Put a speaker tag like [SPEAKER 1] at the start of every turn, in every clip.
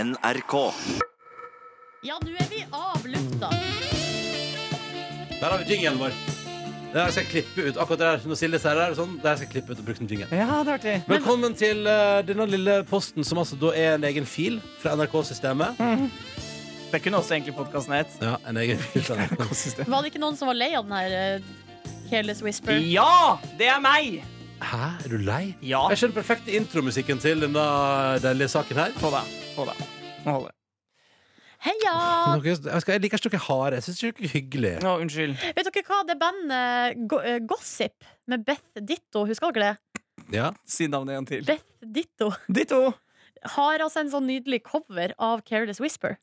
[SPEAKER 1] NRK.
[SPEAKER 2] Ja, nå er vi av lufta.
[SPEAKER 3] Der har vi jingelen vår. Det her skal jeg klippe ut. Akkurat det her, når Silje sier det her, og sånn, det her skal jeg klippe ut og bruke som jingle.
[SPEAKER 4] Ja, det er artig.
[SPEAKER 3] Velkommen til eh, denne lille posten, som altså da er en egen fil fra NRK-systemet.
[SPEAKER 4] Det kunne også egentlig podkasten hett.
[SPEAKER 3] Ja, en egen fil fra NRK.
[SPEAKER 2] Var det ikke noen som var lei av den her eh, Careless Whisper?
[SPEAKER 4] Ja! Det er meg!
[SPEAKER 3] Hæ, er du lei?
[SPEAKER 4] Ja.
[SPEAKER 3] Jeg skjønner perfekt intromusikken til denne deilige saken her.
[SPEAKER 4] Få deg. Få deg. Nå holder det.
[SPEAKER 2] Heia!
[SPEAKER 3] Dere- Jeg skal- jeg liker ikke dere harde. Jeg syns ikke dere er hyggelige.
[SPEAKER 4] Nå, unnskyld.
[SPEAKER 2] Vet dere hva? Det bandet Go eh, Gossip med Beth Ditto, husker dere det?
[SPEAKER 3] Ja.
[SPEAKER 4] Si navnet igjen til.
[SPEAKER 2] Beth Ditto
[SPEAKER 4] De to.
[SPEAKER 2] har altså en sånn nydelig cover av Careless Whisper.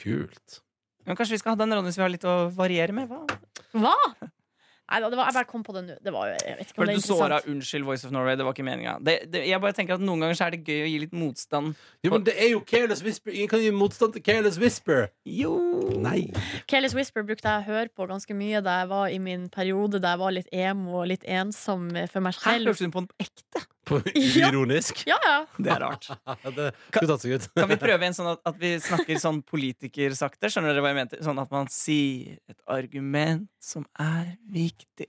[SPEAKER 3] Kult.
[SPEAKER 4] Men kanskje vi skal ha den, Ronny, så vi har litt å variere med? Hva?
[SPEAKER 2] Hva?! Nei da, det var, jeg bare kom på det nå. Det var jo Jeg vet ikke om
[SPEAKER 4] Fordi
[SPEAKER 2] det er
[SPEAKER 4] du såra
[SPEAKER 2] interessant.
[SPEAKER 4] Unnskyld, Voice of Norway. Det var ikke meninga. Det- det- Jeg bare tenker at noen ganger så er det gøy å gi litt motstand.
[SPEAKER 3] Jo, men det er jo Careless Whisper. Ingen kan gi motstand til Careless Whisper.
[SPEAKER 4] Jo!
[SPEAKER 3] Nei.
[SPEAKER 2] Careless Whisper brukte jeg å høre på ganske mye da jeg var i min periode da jeg var litt emo og litt ensom for meg
[SPEAKER 4] Her
[SPEAKER 2] selv.
[SPEAKER 4] lurte hun på den på ekte.
[SPEAKER 3] På
[SPEAKER 2] Ja.
[SPEAKER 3] ironisk.
[SPEAKER 2] Ja, ja.
[SPEAKER 4] Det er rart.
[SPEAKER 3] Det skulle tatt seg ut.
[SPEAKER 4] Kan vi prøve en sånn at, at vi snakker sånn politikersakte? Skjønner dere hva jeg mente? Sånn at man sier et argument som er viktig.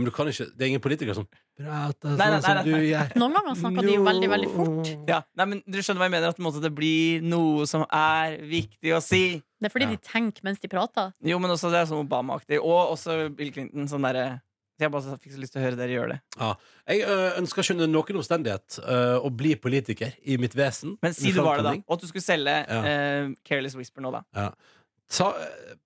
[SPEAKER 3] Men du kan ikke, det er ingen politikere som prater
[SPEAKER 4] Nei, nei,
[SPEAKER 3] sånn som
[SPEAKER 4] nei,
[SPEAKER 3] du
[SPEAKER 4] nei.
[SPEAKER 3] gjør.
[SPEAKER 2] Noen ganger snakka de jo veldig, veldig fort.
[SPEAKER 4] Ja, nei, men Dere skjønner hva jeg mener? At på en måte det blir noe som er viktig å si.
[SPEAKER 2] Det er fordi
[SPEAKER 3] Ja.
[SPEAKER 2] de tenker mens de prater.
[SPEAKER 4] Jo, men også det er sånn Obama-aktig. Og også Bill Clinton. Sånn derre Jeg bare fikk så lyst til å høre dere gjøre det.
[SPEAKER 3] Jeg ø, ønsker ikke under noen omstendighet ø, å bli politiker i mitt vesen.
[SPEAKER 4] Men si
[SPEAKER 3] Min
[SPEAKER 4] du var det, da.
[SPEAKER 3] framtoning.
[SPEAKER 4] Og at du skulle selge
[SPEAKER 3] Ja.
[SPEAKER 4] eh, Careless Whisper nå, da.
[SPEAKER 3] Ta,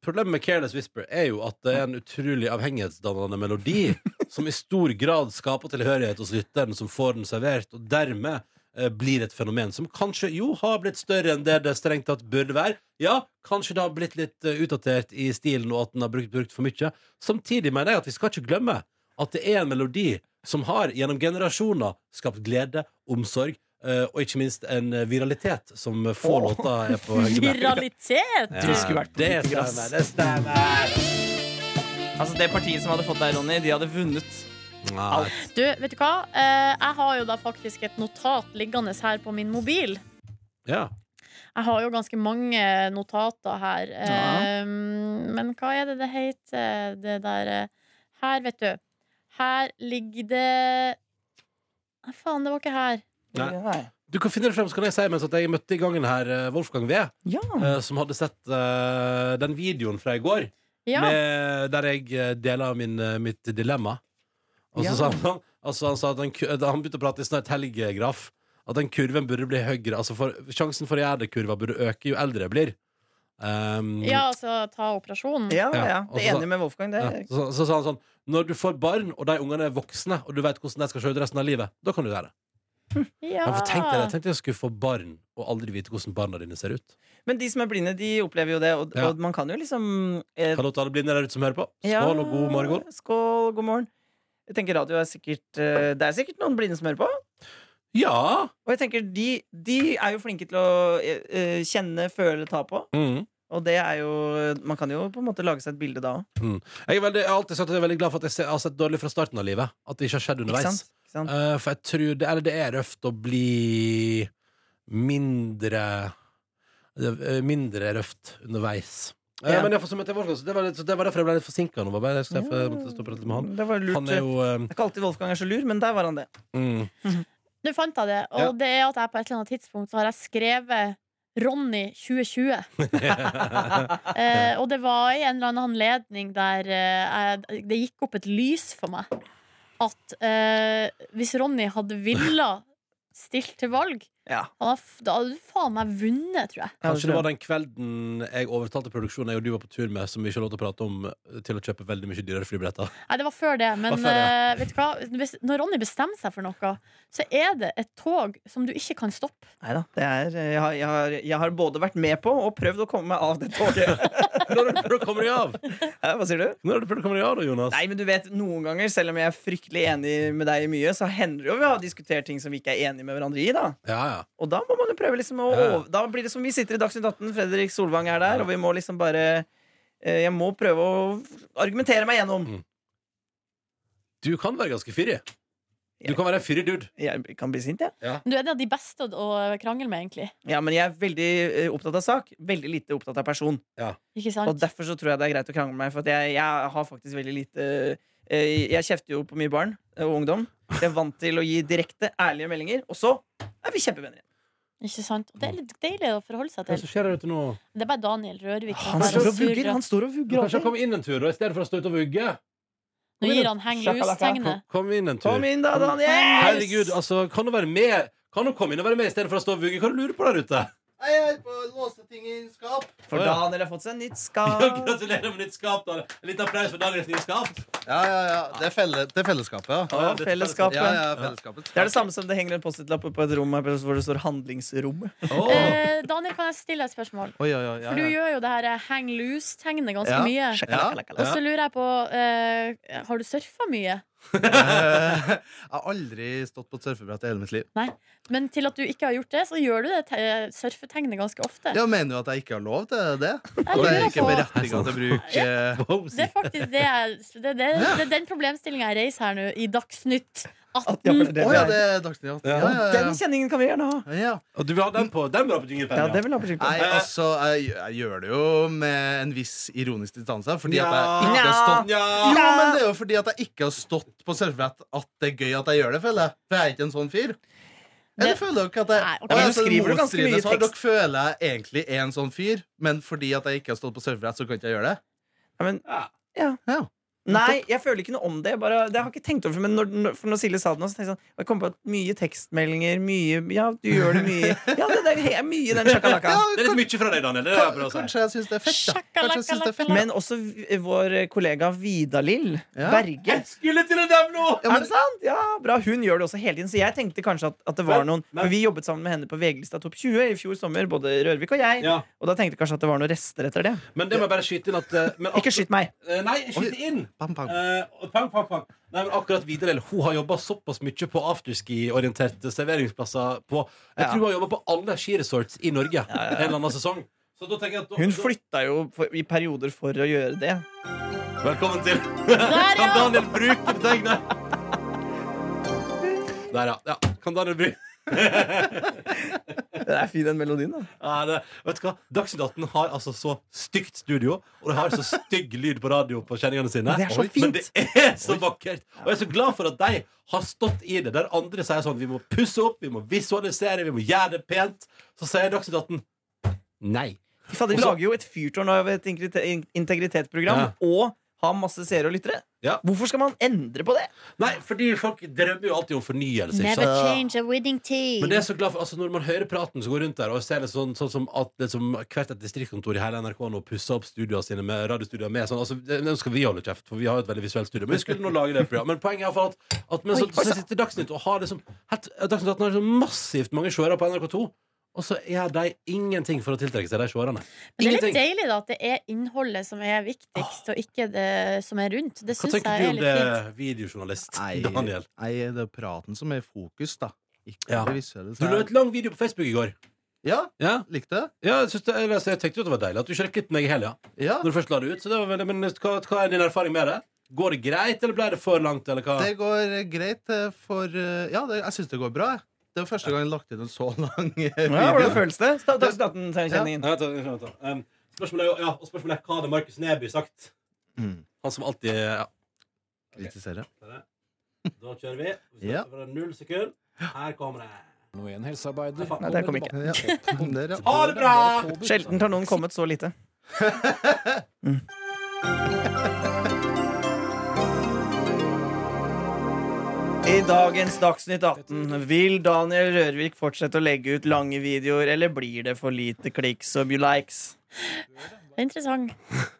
[SPEAKER 3] problemet med Careless Whisper er jo at det er en utrolig avhengighetsdannende melodi som i stor grad skaper tilhørighet hos lytteren som får den servert, og dermed eh, blir et fenomen som kanskje jo har blitt større enn det det strengt tatt burde være. Ja, kanskje det har blitt litt eh, utdatert i stilen, og at den har brukt, brukt for mye. Samtidig mener jeg at vi skal ikke glemme at det er en melodi som har gjennom generasjoner skapt glede, omsorg, eh, og ikke minst en eh, viralitet som få
[SPEAKER 4] Åh.
[SPEAKER 3] låter er på høyde med.
[SPEAKER 2] Viralitet!
[SPEAKER 3] Ja.
[SPEAKER 4] Du skulle vært
[SPEAKER 3] Det
[SPEAKER 4] politiker, ass.
[SPEAKER 3] stemmer, det stemmer.
[SPEAKER 4] Altså Det partiet som hadde fått deg, Ronny, de hadde vunnet.
[SPEAKER 3] Nei.
[SPEAKER 2] Du, vet du hva? Eh, jeg har jo da faktisk et notat liggende her på min mobil.
[SPEAKER 3] Ja.
[SPEAKER 2] Jeg har jo ganske mange notater her.
[SPEAKER 4] Ja.
[SPEAKER 2] Eh, men hva er det det heter, det der eh, Her, vet du. Her ligger det Nei, faen, det var ikke her.
[SPEAKER 3] Nei. Du kan finne det frem, så kan jeg si mens at jeg møtte i gangen her eh, Wolfgang V,
[SPEAKER 4] Ja.
[SPEAKER 3] eh, som hadde sett eh, den videoen fra i går,
[SPEAKER 2] Ja.
[SPEAKER 3] med, der jeg eh, deler min, eh, mitt dilemma. Og så
[SPEAKER 4] Ja.
[SPEAKER 3] sa han, altså han sa at den, ku- da han begynte å prate i snart helgegraf, at den kurven burde bli høyere. Altså for, sjansen for å gjøre det kurva burde øke jo eldre jeg blir. Um,
[SPEAKER 2] ja, altså ta operasjonen.
[SPEAKER 4] Ja, ja,
[SPEAKER 3] Ja,
[SPEAKER 4] Det
[SPEAKER 3] og
[SPEAKER 4] er
[SPEAKER 3] så-
[SPEAKER 4] enig med Wolfgang. Det.
[SPEAKER 3] Ja,
[SPEAKER 4] er-
[SPEAKER 3] så, så sa han sånn Når du får barn, og de ungene er voksne, og du vet hvordan de skal se ut resten av livet, da kan du gjøre det.
[SPEAKER 2] Ja.
[SPEAKER 3] Ja, for tenk deg det. Tenk deg å skulle få barn og aldri vite hvordan barna dine ser ut.
[SPEAKER 4] Men de som er blinde, de opplever jo det, og,
[SPEAKER 3] Ja.
[SPEAKER 4] og man kan jo liksom eh,
[SPEAKER 3] Hallo til alle blinde der ute som hører på. Skål
[SPEAKER 4] ja,
[SPEAKER 3] og god morgen.
[SPEAKER 4] Skål, god morgen. Jeg tenker radio er sikkert eh, Det er sikkert noen blinde som hører på.
[SPEAKER 3] Ja!
[SPEAKER 4] Og jeg tenker de, de er jo flinke til å eh, eh, kjenne, føle, ta på.
[SPEAKER 3] Mm.
[SPEAKER 4] Og det er jo Man kan jo på en måte lage seg et bilde da òg.
[SPEAKER 3] Jeg, er veldig, jeg har alltid sagt at jeg er veldig glad for at jeg, ser, jeg har sett dårlig fra starten av livet. At det ikke har skjedd
[SPEAKER 4] Ikke
[SPEAKER 3] underveis.
[SPEAKER 4] sant? Ikke sant?
[SPEAKER 3] Eh, for jeg tror det, eller det er røft å bli mindre eh, Mindre røft underveis. Eh,
[SPEAKER 4] Ja.
[SPEAKER 3] Men jeg får som et valg, altså. det, var, litt- så det var derfor jeg ble litt forsinka nå. var bare- Jeg, skulle- jeg måtte stå og prate litt med han.
[SPEAKER 4] Det var lurt.
[SPEAKER 3] Han er jo eh,
[SPEAKER 4] Det er ikke alltid Wolfgang er så lur, men der var han det.
[SPEAKER 3] mm,
[SPEAKER 2] Nå fant jeg det, og
[SPEAKER 3] Ja.
[SPEAKER 2] det er at jeg på et eller annet tidspunkt så har jeg skrevet Ronny 2020.
[SPEAKER 3] mm.
[SPEAKER 2] eh, og det var i en eller annen anledning der eh, jeg, det gikk opp et lys for meg at eh, hvis Ronny hadde villa stilt til valg,
[SPEAKER 4] Ja.
[SPEAKER 2] han har f- da hadde du faen meg vunnet, tror jeg.
[SPEAKER 3] Kanskje det var den kvelden jeg overtalte produksjonen jeg og du var på tur med, som vi ikke har lov til å prate om, eh, til å kjøpe veldig mye dyrere flybilletter.
[SPEAKER 2] Nei, det var før det, men
[SPEAKER 3] Var før det,
[SPEAKER 2] eh, vet du hva? Hvis, når Ronny bestemmer seg for noe, så er det et tog som du ikke kan stoppe.
[SPEAKER 4] Neida, det er, jeg, har, jeg, har, jeg har både vært med på og prøvd å komme meg av det toget.
[SPEAKER 3] Når er det du kommer deg av?
[SPEAKER 4] Hæ, Hva sier du?
[SPEAKER 3] Når er det du kommer deg av da, Jonas?
[SPEAKER 4] Nei, men du vet, Noen ganger, selv om jeg er fryktelig enig med deg i mye, så hender det jo vi har diskutert ting som vi ikke er enige med hverandre i. da
[SPEAKER 3] Ja, ja.
[SPEAKER 4] Og da må man jo prøve liksom å
[SPEAKER 3] Ja.
[SPEAKER 4] over- Da blir det som vi sitter i Dagsnytt 18, Fredrik Solvang er der, og vi må liksom bare eh, Jeg må prøve å argumentere meg gjennom.
[SPEAKER 3] Du kan være ganske fyrig. Du kan være en fyrig dude.
[SPEAKER 4] Jeg kan bli sint, jeg.
[SPEAKER 2] Du er en av de beste å, å krangle med, egentlig.
[SPEAKER 4] Ja. men jeg er veldig eh, opptatt av sak. Veldig lite opptatt av person.
[SPEAKER 2] Ikke
[SPEAKER 4] Og
[SPEAKER 2] sant?
[SPEAKER 4] derfor så tror jeg det er greit å krangle med meg, for at jeg, jeg har faktisk veldig lite eh, Jeg kjefter jo på mye barn eh, og ungdom. Jeg er vant til å gi direkte, ærlige meldinger. Og så er vi kjempevenner.
[SPEAKER 2] Ikke sant? Og det er litt deilig å forholde seg
[SPEAKER 3] Hva er det
[SPEAKER 2] til.
[SPEAKER 3] som skjer der ute nå?
[SPEAKER 2] Det er bare Daniel Rørvik som
[SPEAKER 4] Han
[SPEAKER 2] er
[SPEAKER 4] står
[SPEAKER 2] og
[SPEAKER 4] og vugger.
[SPEAKER 2] surrer.
[SPEAKER 4] Han står og vugger
[SPEAKER 3] Kanskje han
[SPEAKER 4] alltid.
[SPEAKER 3] kommer inn en tur, da, i stedet for å stå ute og vugge?
[SPEAKER 2] Nå gir han heng
[SPEAKER 3] Kom,
[SPEAKER 2] loose-tegnet.
[SPEAKER 3] kom inn en tur.
[SPEAKER 4] Kom inn, da, Daniel!
[SPEAKER 3] Herregud, altså, kan du være med? Kan du komme inn og være med i stedet for å stå og vugge? Hva er det du lurer på der ute?
[SPEAKER 1] Nei, jeg holder på å låse ting i en skap.
[SPEAKER 4] For Daniel har fått seg nytt
[SPEAKER 3] Ja,
[SPEAKER 4] skap.
[SPEAKER 3] gratulerer med nytt skap, da. En liten applaus for Daniels nye skap.
[SPEAKER 1] Ja, ja, ja. Det er felle, til fellesskapet, ja.
[SPEAKER 4] Ja,
[SPEAKER 3] det er
[SPEAKER 4] fellesskapet.
[SPEAKER 1] Ja, ja, fellesskapet.
[SPEAKER 4] Det er det samme som det henger en Post-It-lapp på et rom her hvor det står 'handlingsrom'.
[SPEAKER 3] Åh.
[SPEAKER 2] Eh, Daniel, kan jeg stille deg et spørsmål?
[SPEAKER 1] Oi, oi, oi. Ja,
[SPEAKER 2] For du
[SPEAKER 1] ja.
[SPEAKER 2] gjør jo det her eh, hang loose-tegnet ganske
[SPEAKER 1] Ja.
[SPEAKER 2] mye.
[SPEAKER 1] Shakalakalakalak.
[SPEAKER 2] Og så lurer jeg på eh, Har du surfa mye?
[SPEAKER 1] Eh, Jeg har aldri stått på et surfebrett i hele mitt liv.
[SPEAKER 2] Men til at du ikke har gjort det, så gjør du det te- surfetegnet ganske ofte.
[SPEAKER 1] Jeg mener jo at jeg ikke har lov til det.
[SPEAKER 2] Jeg
[SPEAKER 1] Og det er
[SPEAKER 2] lurer
[SPEAKER 1] ikke
[SPEAKER 2] på
[SPEAKER 1] berettiga til bruk. eh,
[SPEAKER 2] Det er faktisk det jeg Det, det, det er den problemstillinga jeg reiser her nå, i Dagsnytt
[SPEAKER 4] At jeg
[SPEAKER 2] 18.
[SPEAKER 4] var
[SPEAKER 1] Å
[SPEAKER 4] det
[SPEAKER 1] ja,
[SPEAKER 4] der.
[SPEAKER 1] det er Dagsnytt. Ja,
[SPEAKER 4] Og
[SPEAKER 1] ja,
[SPEAKER 4] den kjenningen kan vi gjerne ha.
[SPEAKER 1] ja. ja.
[SPEAKER 3] Og du vil ha den på? Den vil du ha på
[SPEAKER 4] Ja,
[SPEAKER 3] jinglepenn,
[SPEAKER 4] det vil jeg ha på skikkelig.
[SPEAKER 1] Nei, altså, jeg, jeg gjør det jo med en viss ironisk distanse. Fordi at jeg
[SPEAKER 3] Ja.
[SPEAKER 1] ikke har stått
[SPEAKER 3] Ja.
[SPEAKER 1] Jo, men det er jo fordi at jeg ikke har stått på surfebrett at det er gøy at jeg gjør det, føler jeg. For jeg er ikke en sånn fyr. Eller
[SPEAKER 2] Det-
[SPEAKER 1] føler dere at jeg
[SPEAKER 2] Nei, ok.
[SPEAKER 1] Å,
[SPEAKER 4] Men
[SPEAKER 1] ja,
[SPEAKER 4] du
[SPEAKER 1] så det
[SPEAKER 4] skriver jo ganske
[SPEAKER 1] motstridende
[SPEAKER 4] mye
[SPEAKER 1] svar.
[SPEAKER 4] tekst.
[SPEAKER 1] Dere føler jeg egentlig er en sånn fyr, men fordi at jeg ikke har stått på surfebrett, så kan jeg ikke gjøre det.
[SPEAKER 4] Ja, men,
[SPEAKER 1] Ja.
[SPEAKER 4] nei, jeg føler ikke noe om det. Bare, det har jeg ikke tenkt over Men når, når- for når Silje sa det nå, så tenkte jeg sånn Jeg kom på at mye tekstmeldinger, mye Ja, du gjør det mye. Ja, det, det er mye den sjakalaka.
[SPEAKER 3] Det er litt mye fra deg, Daniel. Det er det jeg prøver å altså. si.
[SPEAKER 1] Kanskje jeg syns det er fett, da. Kanskje jeg synes det er fett.
[SPEAKER 4] Men også v- vår kollega Vida-Lill
[SPEAKER 1] Ja.
[SPEAKER 4] Berge.
[SPEAKER 3] Skulle til å nevne noe!
[SPEAKER 1] Ja,
[SPEAKER 4] er det sant? Ja, bra. Hun gjør det også hele tiden. Så jeg tenkte kanskje at, at det var noen
[SPEAKER 3] men-
[SPEAKER 4] For vi jobbet sammen med henne på VG-lista Topp 20 i fjor sommer, både Rørvik og jeg.
[SPEAKER 3] Ja.
[SPEAKER 4] Og da tenkte jeg kanskje at det var noen rester etter det.
[SPEAKER 3] Men det må jeg bare skyte inn at eh, men
[SPEAKER 4] Ikke skyt meg.
[SPEAKER 3] Eh, Nei, skyt
[SPEAKER 1] Oi.
[SPEAKER 3] inn!
[SPEAKER 1] Bam, bam.
[SPEAKER 3] Eh, og pang, pang, pang. Nei, men akkurat Vidar-Lill Hun har jobba såpass mye på afterski-orienterte serveringsplasser. På, jeg
[SPEAKER 4] Ja.
[SPEAKER 3] tror hun har jobba på alle skiresorts i Norge en eller annen sesong. Så da tenker jeg at da,
[SPEAKER 4] Hun
[SPEAKER 3] da-
[SPEAKER 4] flytta jo for, i perioder for å gjøre det.
[SPEAKER 3] Velkommen til
[SPEAKER 2] Der,
[SPEAKER 3] Kan
[SPEAKER 2] ja!
[SPEAKER 3] Daniel bruke betegnet? Der, ja. ja. Kan Daniel bruke
[SPEAKER 4] Det er fin, den melodien, da.
[SPEAKER 3] ja, det, Vet du hva? Dagsnytt 18 har altså så stygt studio, og det har så stygg lyd på radio på kjenningene sine.
[SPEAKER 4] Det er så
[SPEAKER 3] Oi.
[SPEAKER 4] fint.
[SPEAKER 3] Men det er så vakkert! Og jeg er så glad for at de har stått i det. Der andre sier sånn Vi må pusse opp, vi må visualisere, vi må gjøre det pent. Så sier Dagsnytt 18 nei.
[SPEAKER 4] Fy faen, de
[SPEAKER 3] Også-
[SPEAKER 4] lager jo et fyrtårn av et integrite- in- integritetsprogram
[SPEAKER 3] Ja.
[SPEAKER 4] og har masse seere og lyttere.
[SPEAKER 3] Ja.
[SPEAKER 4] Hvorfor skal man endre på det?
[SPEAKER 3] Nei, fordi folk drømmer jo alltid om fornyelse. Ikke
[SPEAKER 2] Never
[SPEAKER 3] sant?
[SPEAKER 2] change a winning
[SPEAKER 3] Men det
[SPEAKER 2] team.
[SPEAKER 3] er så glad for, altså Når man hører praten som går rundt der, og ser det sånn, sånn som at det som hvert et distriktskontor i hele NRK nå pusser opp studioene sine med radiostudioer med sånn, altså, det- Nå skal vi holde kjeft, for vi har jo et veldig visuelt studio. Men vi skulle nå lage det programmet. Men poenget er for at, at men, så,
[SPEAKER 4] Oi, oi,
[SPEAKER 2] altså.
[SPEAKER 3] så sitter Dagsnytt og har liksom helt- Dagsnytt 18 har så massivt mange seere på NRK2, og så gjør de ingenting for å tiltrekke seg de seerne.
[SPEAKER 2] Men det er litt
[SPEAKER 3] Ingenting.
[SPEAKER 2] deilig da at det er innholdet som er viktigst, og ikke det som er rundt. Det
[SPEAKER 3] Hva
[SPEAKER 2] syns jeg
[SPEAKER 3] tenker du
[SPEAKER 2] er
[SPEAKER 3] om
[SPEAKER 2] litt fint.
[SPEAKER 3] det, videojournalist
[SPEAKER 1] Nei,
[SPEAKER 3] Daniel?
[SPEAKER 1] nei, det er praten som er i fokus, da. Ikke
[SPEAKER 3] Ja.
[SPEAKER 1] det visuelle.
[SPEAKER 3] Du
[SPEAKER 1] så
[SPEAKER 3] la
[SPEAKER 1] jeg-
[SPEAKER 3] ut lang video på Facebook i går.
[SPEAKER 1] Ja,
[SPEAKER 3] Ja,
[SPEAKER 1] likte det?
[SPEAKER 3] ja jeg, synes det, eller, altså, jeg tenkte jo at det var deilig at du ikke klippet meg i helga.
[SPEAKER 1] Ja.
[SPEAKER 3] Når du først la det ut, så det var veldig, men hva, hva er din erfaring med det? Går det greit, eller ble det for langt? Eller hva?
[SPEAKER 1] Det går eh, greit eh, for eh, Ja, det, jeg syns det går bra, jeg. Det var første gang jeg lagt inn en så lang eh,
[SPEAKER 4] Ja, hvordan
[SPEAKER 1] video.
[SPEAKER 4] føles det? Ta- Takk til staten, sier kjenningen.
[SPEAKER 3] Nei, vent da, vent da, vent da. Um, spørsmålet er jo ja, og spørsmålet er hva hadde Markus Neby sagt?
[SPEAKER 1] Mm.
[SPEAKER 3] Han som alltid ja.
[SPEAKER 1] Kritiserer.
[SPEAKER 3] Da kjører vi. Vi
[SPEAKER 1] Ja.
[SPEAKER 3] starter fra null sekund. Her kommer det.
[SPEAKER 5] Nå er en helsearbeider.
[SPEAKER 3] Nei, faen.
[SPEAKER 4] Nei, der kom ikke.
[SPEAKER 1] Ja. Der, ja.
[SPEAKER 3] Ha det bra!
[SPEAKER 4] Sjelden har noen kommet så lite. Mm. I dagens Dagsnytt 18 vil Daniel Rørvik fortsette å legge ut lange videoer, eller blir det for lite kliks og likes?
[SPEAKER 2] Det er interessant.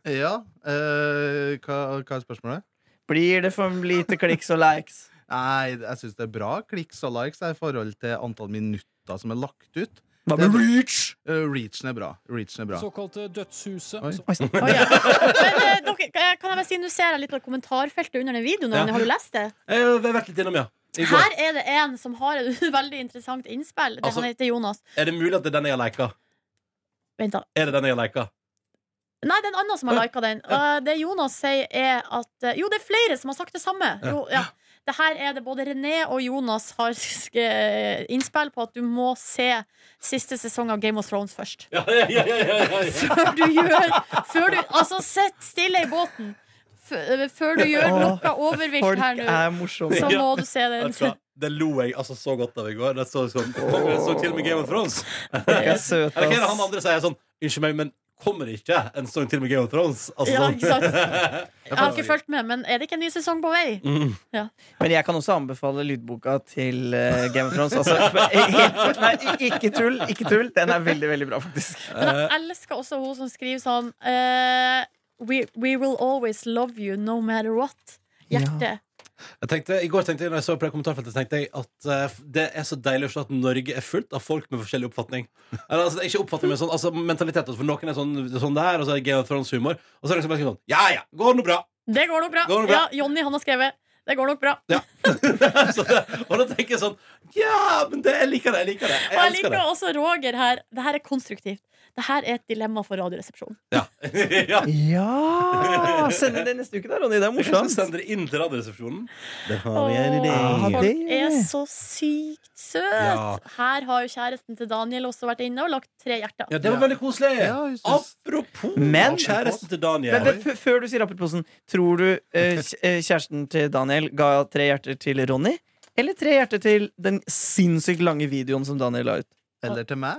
[SPEAKER 1] ja. eh, hva, hva er spørsmålet?
[SPEAKER 4] Blir det for lite kliks og likes?
[SPEAKER 1] Nei, jeg syns det er bra klikks og likes jeg, i forhold til antall minutter som er lagt ut.
[SPEAKER 4] Hva
[SPEAKER 1] med
[SPEAKER 4] reach?
[SPEAKER 1] Eh, Reachen er bra. Reachen er bra.
[SPEAKER 5] Såkalte dødshuset. Altså-
[SPEAKER 1] Oi.
[SPEAKER 2] Å, ja. Men eh, dere, kan jeg bare si, nå ser jeg litt av kommentarfeltet under den videoen.
[SPEAKER 3] Ja.
[SPEAKER 2] Har du lest det?
[SPEAKER 3] Jeg har vært litt innom, ja. I går.
[SPEAKER 2] Her er det en som har et veldig interessant innspill. Det,
[SPEAKER 3] Altså-
[SPEAKER 2] han heter Jonas.
[SPEAKER 3] Er det mulig at det er den jeg har lika?
[SPEAKER 2] Vent da
[SPEAKER 3] Er det den jeg har lika?
[SPEAKER 2] Nei, det er en annen som har lika den. Og det Jonas sier, er at eh, Jo, det er flere som har sagt det samme. Jo, ja. Det her er det både René og Jonas har sk- eh, innspill på at du må se siste sesong av Game of Thrones først.
[SPEAKER 3] Ja, ja, ja, ja, ja, ja.
[SPEAKER 2] Før du gjør før du, Altså, sitt stille i båten. F eh, før du gjør
[SPEAKER 4] Åh,
[SPEAKER 2] noe overvilt
[SPEAKER 4] Folk
[SPEAKER 2] her nå,
[SPEAKER 4] er morsomme.
[SPEAKER 2] så
[SPEAKER 3] Ja.
[SPEAKER 2] må du se den.
[SPEAKER 3] Vet du hva? Det lo jeg altså så godt av i går. Det så, sånn, jeg så til og med Game of Thrones.
[SPEAKER 4] Folk er søte,
[SPEAKER 3] Eller hva er det han
[SPEAKER 4] ass.
[SPEAKER 3] andre sier sånn Unnskyld meg, men kommer det ikke en sesong til med Game of Thrones? Altså,
[SPEAKER 2] Ja,
[SPEAKER 3] sånn.
[SPEAKER 2] ikke sant? Jeg har ikke fulgt med, men er det ikke en ny sesong på vei?
[SPEAKER 3] Mm.
[SPEAKER 4] Men jeg kan også anbefale lydboka til eh, Game of Thrones. Altså, helt, nei, ikke tull, ikke tull. Den er veldig, veldig bra, faktisk.
[SPEAKER 2] Men jeg
[SPEAKER 3] Eh.
[SPEAKER 2] elsker også hun som skriver sånn eh, we, we will always love you no matter what. Hjerte.
[SPEAKER 3] Jeg tenkte, I går tenkte jeg, når jeg så på det kommentarfeltet, tenkte jeg at eh, det er så deilig å se at Norge er fullt av folk med forskjellig oppfatning. Eller, altså, ikke oppfatning, men sånn, altså, mentalitet. altså, For noen er sånn, sånn der, og så er det Game of Thrones-humor. Og så er det liksom bare sånn Ja, ja, går nå bra.
[SPEAKER 2] Det går nok bra.
[SPEAKER 3] Går nok bra.
[SPEAKER 2] Ja, Jonny han har skrevet. Det går nok bra.
[SPEAKER 3] så det, og da tenker jeg sånn Ja, men det, jeg liker det. Jeg liker det.
[SPEAKER 2] Og jeg
[SPEAKER 3] Jeg elsker
[SPEAKER 2] liker
[SPEAKER 3] det.
[SPEAKER 2] også Roger her. Det her er konstruktivt. Det her er et dilemma for Radioresepsjonen.
[SPEAKER 3] Ja. ja.
[SPEAKER 4] Ja! Send inn det neste uke, da, Ronny. Det er
[SPEAKER 3] Kanskje vi
[SPEAKER 4] morsomt.
[SPEAKER 3] sender det inn til Radioresepsjonen.
[SPEAKER 2] Åh,
[SPEAKER 4] Ja,
[SPEAKER 2] Folk
[SPEAKER 4] Ah, det-
[SPEAKER 2] er så sykt søte.
[SPEAKER 3] Ja.
[SPEAKER 2] Her har jo kjæresten til Daniel også vært inne og lagt tre hjerter.
[SPEAKER 3] Ja, det var veldig koselig.
[SPEAKER 1] Ja, jeg synes-
[SPEAKER 3] Apropos
[SPEAKER 4] Men-
[SPEAKER 3] kjæresten til
[SPEAKER 4] Men,
[SPEAKER 3] Daniel.
[SPEAKER 4] men, f- før du sier Appelposen, tror du eh, kj- eh, kjæresten til Daniel ga tre hjerter til Ronny? Eller tre hjerter til den sinnssykt lange videoen som Daniel la ut?
[SPEAKER 1] Eller til meg.